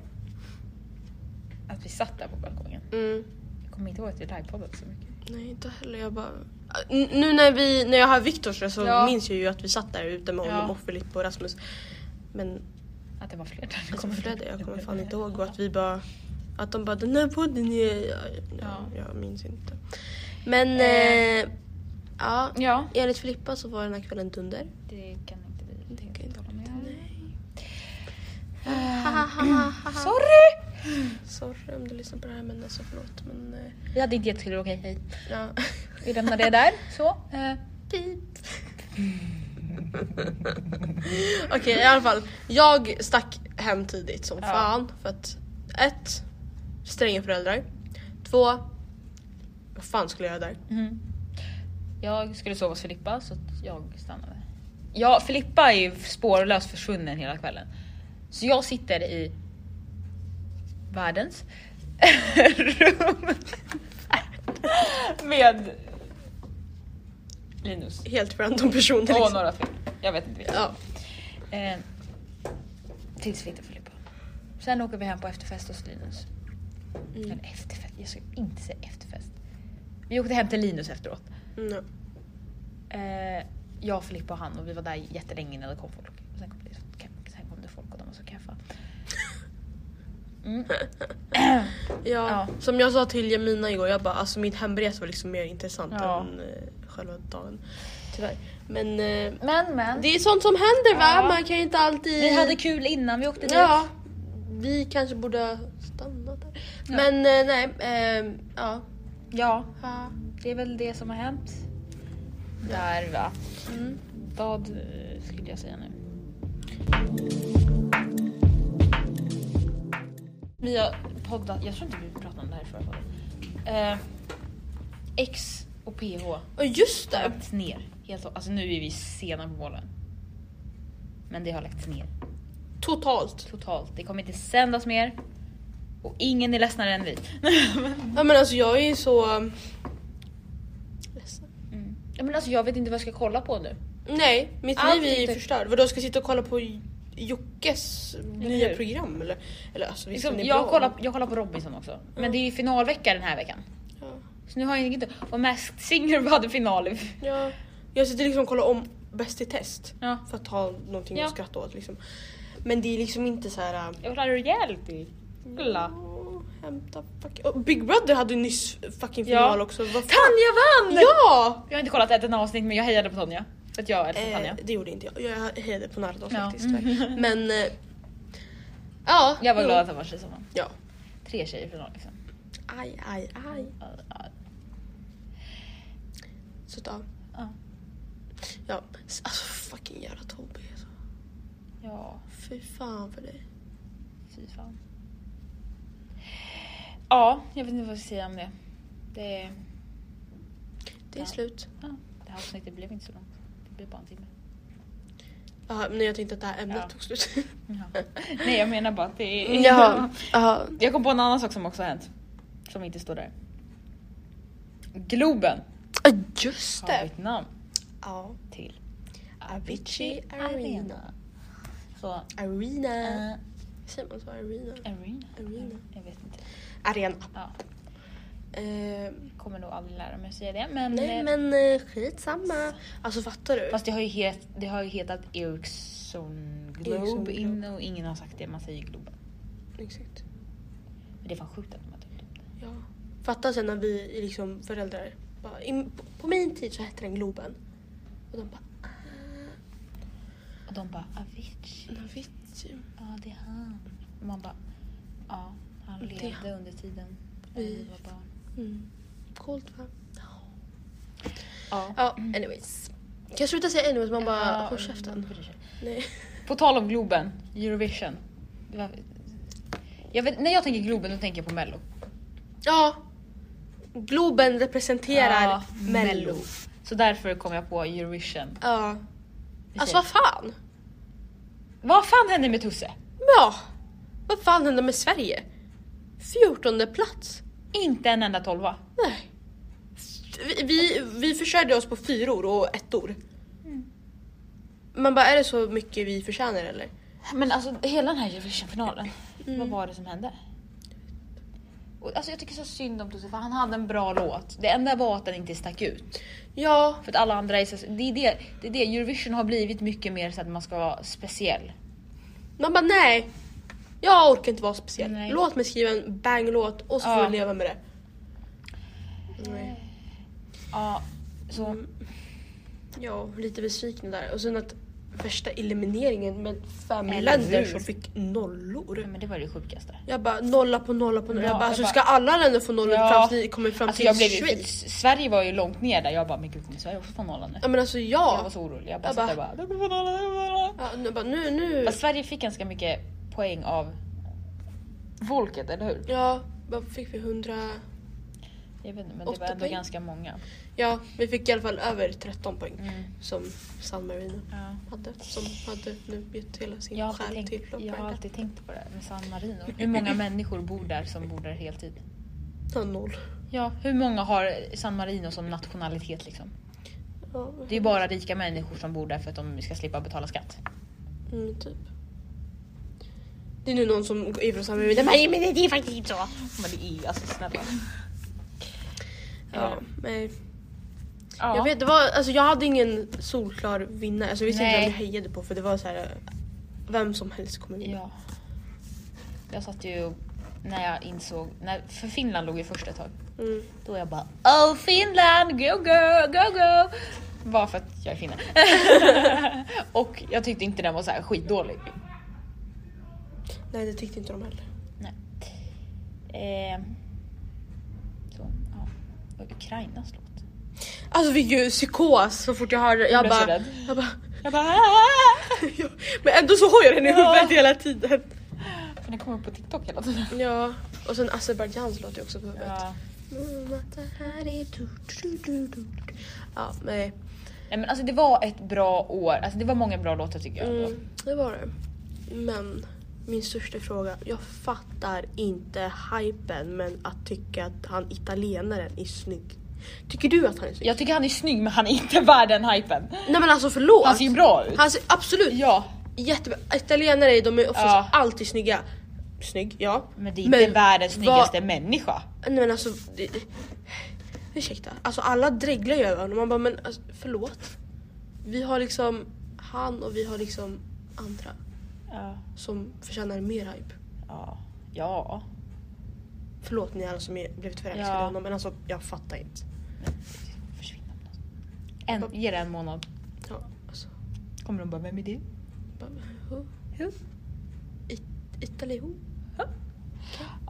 Speaker 2: att vi satt där på balkongen.
Speaker 3: Mm.
Speaker 2: Jag kommer inte ihåg att vi livepoddade så mycket.
Speaker 3: Nej inte heller, jag bara... N- nu när, vi, när jag har Viktors så
Speaker 2: Ja.
Speaker 3: minns jag ju att vi satt där ute med honom
Speaker 2: Ja.
Speaker 3: och Filip och Rasmus. Men
Speaker 2: Att det var fler där.
Speaker 3: alltså för det, jag kommer fan inte ihåg och att vi bara... Att de bara den här podden är... Ja, ja. Jag minns inte. Men... Eh. ja,
Speaker 2: ja,
Speaker 3: enligt Filippa så var den här kvällen dunder.
Speaker 2: Det kan inte vi det
Speaker 3: kan
Speaker 2: inte hålla
Speaker 3: <laughs>
Speaker 2: med
Speaker 3: Sorry! Sorry om du lyssnar på det här men alltså förlåt men... eh,
Speaker 2: Vi hade inte jättekul, okej hej.
Speaker 3: Ja.
Speaker 2: Vi lämnar det där. Så. Eh,
Speaker 3: Okej i alla fall. Jag stack hem tidigt som fan för att ett, stränga föräldrar. Två, vad fan skulle jag göra där?
Speaker 2: Mm. Jag skulle sova hos Filippa så att jag stannade. Ja, Filippa är ju spårlöst försvunnen hela kvällen. Så jag sitter i världens <laughs> rum med Linus.
Speaker 3: Helt random liksom. personer.
Speaker 2: Och några till. Jag vet inte vilka.
Speaker 3: Ja.
Speaker 2: Eh, tills vi hittar Filippa. Sen åker vi hem på efterfest hos Linus.
Speaker 3: Mm.
Speaker 2: Eller efterfest, jag ska inte säga efterfest. Vi åkte hem till Linus efteråt.
Speaker 3: No.
Speaker 2: Eh, jag, Filippa och han och vi var där jättelänge innan det kom folk. Och sen, kom det, sen kom det folk och de var så kaffa. Mm.
Speaker 3: Ja, Som jag sa till Jemina igår, jag bara alltså min hemresa var liksom mer intressant
Speaker 2: Ja.
Speaker 3: än eh, själva dagen. Tyvärr. Men, eh,
Speaker 2: Men men.
Speaker 3: det är sånt som händer va?
Speaker 2: Ja.
Speaker 3: Man kan ju inte alltid...
Speaker 2: Vi hade kul innan vi åkte dit.
Speaker 3: Ja. Vi kanske borde ha stannat där. Men eh, nej, ehm, ja.
Speaker 2: Ja,
Speaker 3: Ja.
Speaker 2: det är väl det som har hänt. Mm. Där va. Vad eh, skulle jag säga nu? Vi har poddat, jag tror inte vi pratade om det här förra podden. Eh, X och PH
Speaker 3: Och just
Speaker 2: har
Speaker 3: det!
Speaker 2: lagts ner. Helt, och- alltså nu är vi sena på bollen. Men det har lagts ner
Speaker 3: Totalt.
Speaker 2: totalt. Det kommer inte sändas mer. Och ingen är ledsnare än vi. <laughs> Mm.
Speaker 3: Ja men alltså jag är ju så... Ledsen.
Speaker 2: Ja, Men alltså jag vet inte vad jag ska kolla på nu.
Speaker 3: Nej, mitt
Speaker 2: Allt
Speaker 3: liv är ju
Speaker 2: inte-
Speaker 3: förstört. Vadå ska jag sitta och kolla på J- Jockes nya
Speaker 2: hur?
Speaker 3: program eller? eller alltså, visst,
Speaker 2: Liksom,
Speaker 3: den är
Speaker 2: jag,
Speaker 3: bra. Mm.
Speaker 2: kollar, jag kollar på Robinson också. Men det är ju finalvecka den här veckan.
Speaker 3: Ja.
Speaker 2: Så nu har jag inget Och Masked Singer hade final. i-
Speaker 3: Ja. Jag sitter liksom och kollar om Bäst i test
Speaker 2: Ja.
Speaker 3: för att ha någonting
Speaker 2: Ja.
Speaker 3: att skratta åt liksom. Men det är liksom inte så här.
Speaker 2: Jag kollar reality. Kolla.
Speaker 3: åh, Hämta fucking... Och Big Brother hade ju nyss fucking
Speaker 2: Ja.
Speaker 3: final också. Vad fan?
Speaker 2: Tanja vann!
Speaker 3: Ja!
Speaker 2: Jag har inte kollat ett enda avsnitt men jag hejade på Tonja. För att jag älskar
Speaker 3: Eh,
Speaker 2: Tanja.
Speaker 3: det gjorde inte jag. Jag hejade på Nardo
Speaker 2: Ja.
Speaker 3: faktiskt.
Speaker 2: <laughs>
Speaker 3: tyvärr. Men... eh, Ja.
Speaker 2: Jag var
Speaker 3: jo.
Speaker 2: glad att det var tjej som vann.
Speaker 3: Ja.
Speaker 2: Tre tjejer i final liksom.
Speaker 3: Aj, aj, aj. Så då.
Speaker 2: Ja.
Speaker 3: Ja. s- Alltså fucking jävla Tobbe. Alltså.
Speaker 2: Ja,
Speaker 3: Fy fan för dig.
Speaker 2: fy fan. Ja, jag vet inte vad jag ska säga om det. Det, är-
Speaker 3: Det är
Speaker 2: Ja.
Speaker 3: slut.
Speaker 2: det här avsnittet blev inte så långt. Det blev bara en timme.
Speaker 3: Jaha, men jag tänkte att det här ämnet
Speaker 2: Ja.
Speaker 3: tog
Speaker 2: <laughs>
Speaker 3: slut.
Speaker 2: Nej jag menar bara att det är... <laughs>
Speaker 3: Jaha. Jaha.
Speaker 2: Jag kom på en annan sak som också har hänt. Som inte står där. Globen
Speaker 3: Ah, Just
Speaker 2: har
Speaker 3: det.
Speaker 2: bytt namn
Speaker 3: Ja.
Speaker 2: till
Speaker 3: Avicii Arena.
Speaker 2: Så,
Speaker 3: Arena.
Speaker 2: eh,
Speaker 3: Säger man så? Arena?
Speaker 2: arena?
Speaker 3: Arena.
Speaker 2: Jag vet inte.
Speaker 3: Arena.
Speaker 2: Ja,
Speaker 3: Eh,
Speaker 2: kommer nog aldrig lära mig att säga det men...
Speaker 3: nej
Speaker 2: eh,
Speaker 3: men eh, skitsamma. Alltså fattar du?
Speaker 2: Fast det har ju, het, det har ju hetat Ericsson
Speaker 3: Ericsson
Speaker 2: Globe
Speaker 3: Globe.
Speaker 2: in och ingen har sagt det. Man säger Globen.
Speaker 3: Exakt.
Speaker 2: Men det är fan sjukt att de har tyckt det.
Speaker 3: Ja. Fatta sen när vi är liksom föräldrar bara, "I- på, på min tid så hette den Globen. Och de bara
Speaker 2: Och de bara Avicii.
Speaker 3: Avicii.
Speaker 2: Ja det är han. Och man bara ja han
Speaker 3: Det är
Speaker 2: levde
Speaker 3: han.
Speaker 2: under tiden.
Speaker 3: Vi-
Speaker 2: Vi var barn.
Speaker 3: Mm. Coolt va?
Speaker 2: Ja.
Speaker 3: Ja anyways. Kan jag sluta säga anyways? Man bara
Speaker 2: Mm. Ja,
Speaker 3: håll käften.
Speaker 2: bryr sig.
Speaker 3: Nej.
Speaker 2: På tal om Globen, Eurovision. Det var- Jag vet, när jag tänker Globen då tänker jag på Mello.
Speaker 3: Ja. Globen representerar
Speaker 2: Ja,
Speaker 3: Mello.
Speaker 2: Så därför kom jag på Eurovision.
Speaker 3: Ja.
Speaker 2: Vi
Speaker 3: Alltså
Speaker 2: säger-
Speaker 3: vad fan?
Speaker 2: Vad fan hände med Tusse?
Speaker 3: Ja. Vad fan hände med Sverige? 14 plats.
Speaker 2: Inte en enda tolva.
Speaker 3: Nej. Vi, vi, vi försörjde oss på fyror och ettor.
Speaker 2: Mm.
Speaker 3: Man bara, är det så mycket vi förtjänar eller?
Speaker 2: Men alltså hela den här Eurovision-finalen, vad var det som hände? Och, Alltså jag tycker så synd om Tusse för han hade en bra låt. Det enda var att den inte stack ut.
Speaker 3: Ja.
Speaker 2: För att alla andra är så... Det är det, det, är det. Eurovision har blivit mycket mer så att man ska vara speciell.
Speaker 3: Man bara, nej. Jag orkar inte vara speciell. Låt mig skriva en bang-låt och så får
Speaker 2: Ja.
Speaker 3: vi leva med det.
Speaker 2: Ja, så...
Speaker 3: Ja, lite besviken där. Och sen att värsta elimineringen med fem
Speaker 2: Eller
Speaker 3: länder
Speaker 2: hur?
Speaker 3: som fick nollor.
Speaker 2: Men det var det sjukaste.
Speaker 3: Jag bara nolla på nolla på nolla.
Speaker 2: Ja,
Speaker 3: jag bara, alltså,
Speaker 2: jag
Speaker 3: ska
Speaker 2: bara-
Speaker 3: alla länder få nollor
Speaker 2: Ja.
Speaker 3: fram till, kommer fram
Speaker 2: Alltså
Speaker 3: till
Speaker 2: jag blev ju,
Speaker 3: Schweiz?
Speaker 2: för Sverige var ju långt ner där. Jag bara, men gud kommer Sverige också få nollan nu?
Speaker 3: Ja men alltså jag.
Speaker 2: Jag var så orolig. Jag bara,
Speaker 3: Jag
Speaker 2: jag
Speaker 3: bara-
Speaker 2: bara, bara de kommer få nollan, de kommer få nollan.
Speaker 3: Ja, nu, bara, nu, nu.
Speaker 2: Fast Sverige fick ganska mycket poäng av folket, eller hur?
Speaker 3: Ja, vad fick vi? 100...
Speaker 2: Jag vet inte, men det
Speaker 3: Åtta
Speaker 2: var ändå
Speaker 3: poäng.
Speaker 2: ganska många.
Speaker 3: Ja, vi fick i alla fall över 13 poäng
Speaker 2: Mm.
Speaker 3: som San Marino hade. Som hade nu gett hela sin
Speaker 2: Jag har,
Speaker 3: själ
Speaker 2: alltid
Speaker 3: till
Speaker 2: tänkt, jag har
Speaker 3: Blackbird.
Speaker 2: alltid tänkt på det här med San Marino. Hur många människor bor där som bor där heltid?
Speaker 3: Ja, noll.
Speaker 2: Ja, hur många har San Marino som nationalitet liksom?
Speaker 3: Ja,
Speaker 2: Det är ju bara rika människor som bor där för att de ska slippa betala skatt.
Speaker 3: Mm, typ. Det är nu någon som är från San Marino. Den bara, "Nej, men det är faktiskt inte så.
Speaker 2: Men det är ju alltså snälla.
Speaker 3: Ja, nej.
Speaker 2: Ja.
Speaker 3: Jag vet, det var, alltså jag hade ingen solklar vinnare. Alltså jag visste inte
Speaker 2: Nej.
Speaker 3: vem jag hejade på för det var så här. Vem som helst kommer vinna.
Speaker 2: Ja. Jag satt ju när jag insåg, när, för Finland låg ju först ett tag.
Speaker 3: Mm.
Speaker 2: Då jag bara Oh Finland, go go, go go! Bara för att jag är finne. <laughs> och jag tyckte inte den var så här skitdålig.
Speaker 3: Nej det tyckte inte de heller.
Speaker 2: Eh, så, ja. Och Ukrainas låt.
Speaker 3: Alltså vi ju psykos så fort jag hörde det. Jag
Speaker 2: blev så
Speaker 3: bara,
Speaker 2: rädd.
Speaker 3: jag bara,
Speaker 2: Jag bara "Ah!"
Speaker 3: <laughs> men ändå så har jag den i
Speaker 2: Ja.
Speaker 3: huvudet hela tiden.
Speaker 2: För den kommer upp på TikTok hela tiden.
Speaker 3: Ja, och sen Azerbajdzjans låt är också på huvudet. Mm,
Speaker 2: Ja.
Speaker 3: Ja, nej.
Speaker 2: Nej, men alltså det var ett bra år. Alltså det var många bra låtar tycker jag. ändå.
Speaker 3: Mm, det var det. Men min största fråga. Jag fattar inte hypen men att tycka att han italienaren är snygg. Tycker du att han är snygg?
Speaker 2: Jag tycker han är snygg men han är inte <laughs> värd den hypen.
Speaker 3: Nej men alltså förlåt.
Speaker 2: Han ser ju bra ut.
Speaker 3: Han ser absolut
Speaker 2: Ja.
Speaker 3: jättebra Italienare de är oftast
Speaker 2: Ja.
Speaker 3: alltid snygga. Snygg, ja.
Speaker 2: Men det är inte
Speaker 3: Men
Speaker 2: världens
Speaker 3: vad-
Speaker 2: snyggaste människa.
Speaker 3: Nej men alltså... Det, det, ursäkta. Alltså alla dreglar ju över honom. Man bara men alltså, förlåt. Vi har liksom han och vi har liksom andra
Speaker 2: Ja.
Speaker 3: som förtjänar mer hype.
Speaker 2: Ja. Ja.
Speaker 3: Förlåt ni alla som är blivit förälskade
Speaker 2: Ja.
Speaker 3: i honom men alltså jag fattar inte.
Speaker 2: Försvinna. En, ge det en månad.
Speaker 3: Ja, alltså,
Speaker 2: Kommer de bara, vem är det?
Speaker 3: bara, huh?
Speaker 2: Huh?
Speaker 3: It, Italy who?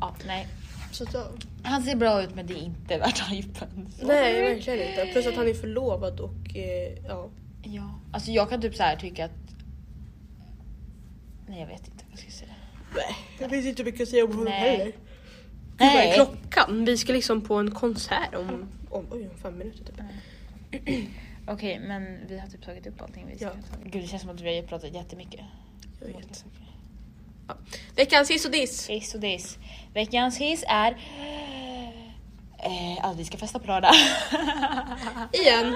Speaker 2: Ja, nej.
Speaker 3: Så att, ja.
Speaker 2: Han ser bra ut men det är inte värt hypen. Så.
Speaker 3: Nej verkligen inte. Plus att han är förlovad och eh, ja.
Speaker 2: Ja. Alltså jag kan typ så här tycka att... Nej jag vet inte vad jag ska säga.
Speaker 3: Nej, det finns inte mycket att säga om honom
Speaker 2: Nej.
Speaker 3: heller. Gud, vad är klockan? Vi ska liksom på en konsert om, om, oj, om fem minuter typ.
Speaker 2: Okej men vi har typ tagit upp allting vi ska
Speaker 3: Ja.
Speaker 2: ta. Gud det känns som att vi har pratat jättemycket.
Speaker 3: Jag
Speaker 2: Om olika
Speaker 3: vet.
Speaker 2: saker.
Speaker 3: Veckans hiss och diss.
Speaker 2: Hiss och diss. Veckans hiss är... Eh, aldrig ska festa på lördag.
Speaker 3: Igen.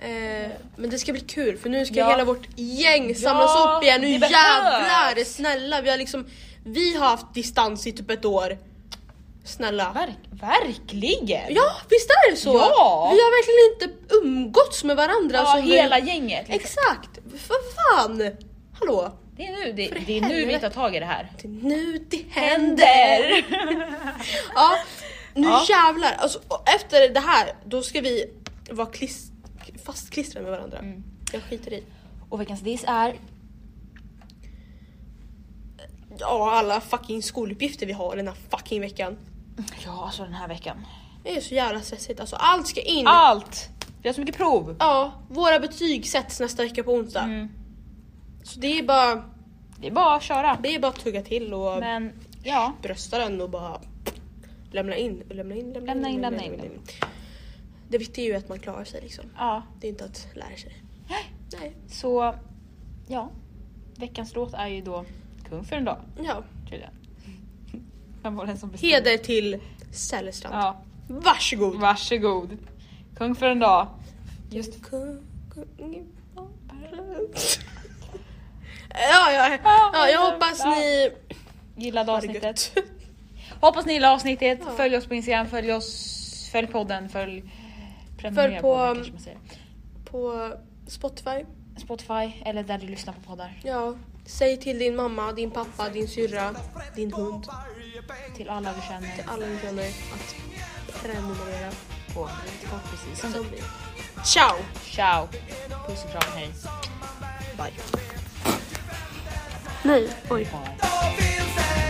Speaker 3: Eh, men det ska bli kul för nu ska
Speaker 2: Ja.
Speaker 3: hela vårt gäng samlas
Speaker 2: Ja,
Speaker 3: upp igen. Nu
Speaker 2: det behövs.
Speaker 3: jävlar snälla. Vi har liksom vi har haft distans i typ ett år.
Speaker 2: <laughs>
Speaker 3: Snälla.
Speaker 2: Verk, verkligen!
Speaker 3: Ja visst är det så?
Speaker 2: Ja.
Speaker 3: Vi har verkligen inte umgåtts med varandra.
Speaker 2: Ja,
Speaker 3: som vi-
Speaker 2: hela gänget. Liksom.
Speaker 3: Exakt! Vad fan! Hallå?
Speaker 2: Det är nu, det,
Speaker 3: För
Speaker 2: det är nu vi
Speaker 3: helvete.
Speaker 2: tar tag i det här.
Speaker 3: Det är nu det händer! ja, nu
Speaker 2: Ja.
Speaker 3: jävlar. Alltså, och efter det här, då ska vi vara klist, fastklistrade med varandra. Jag skiter i.
Speaker 2: Mm. Och veckans diss är...
Speaker 3: Ja, alla fucking skoluppgifter vi har den här fucking veckan.
Speaker 2: Ja, alltså den här veckan.
Speaker 3: Det är så jävla stressigt. Alltså, allt ska in.
Speaker 2: Allt! Vi har så mycket prov.
Speaker 3: Ja, våra betyg sätts nästa vecka på onsdag.
Speaker 2: Mm.
Speaker 3: Så det är bara...
Speaker 2: Det är bara att köra.
Speaker 3: Det är bara att tugga till och
Speaker 2: Men ja,
Speaker 3: brösta den och bara lämna in. Lämna in, lämna,
Speaker 2: Lämna in, lämna in.
Speaker 3: Det viktiga är ju att man klarar sig liksom.
Speaker 2: ja.
Speaker 3: Det är inte att lära sig. Nej.
Speaker 2: Så ja, veckans låt är ju då tung för en dag.
Speaker 3: Ja.
Speaker 2: Tydligen. Vem var den som bestämde?
Speaker 3: Heder till Sälestrand.
Speaker 2: Ja.
Speaker 3: Varsågod.
Speaker 2: Varsågod. Kung för en dag. Just
Speaker 3: Ja, ja, ja, jag hoppas ni...
Speaker 2: gillade avsnittet. Hoppas ni gillade avsnittet. Följ oss på Instagram, följ oss, följ podden, följ...
Speaker 3: Följ på- um,
Speaker 2: podden, kanske man säger.
Speaker 3: På Spotify.
Speaker 2: Spotify eller där du lyssnar på poddar.
Speaker 3: Ja. Säg till din mamma, din pappa, din syrra, din hund.
Speaker 2: Till alla du känner.
Speaker 3: Till alla du känner att prenumerera.
Speaker 2: På Spotify precis som du.
Speaker 3: Ciao!
Speaker 2: Ciao! Puss och kram, hej. Bye.
Speaker 3: Nej, oj.
Speaker 1: feels that oh.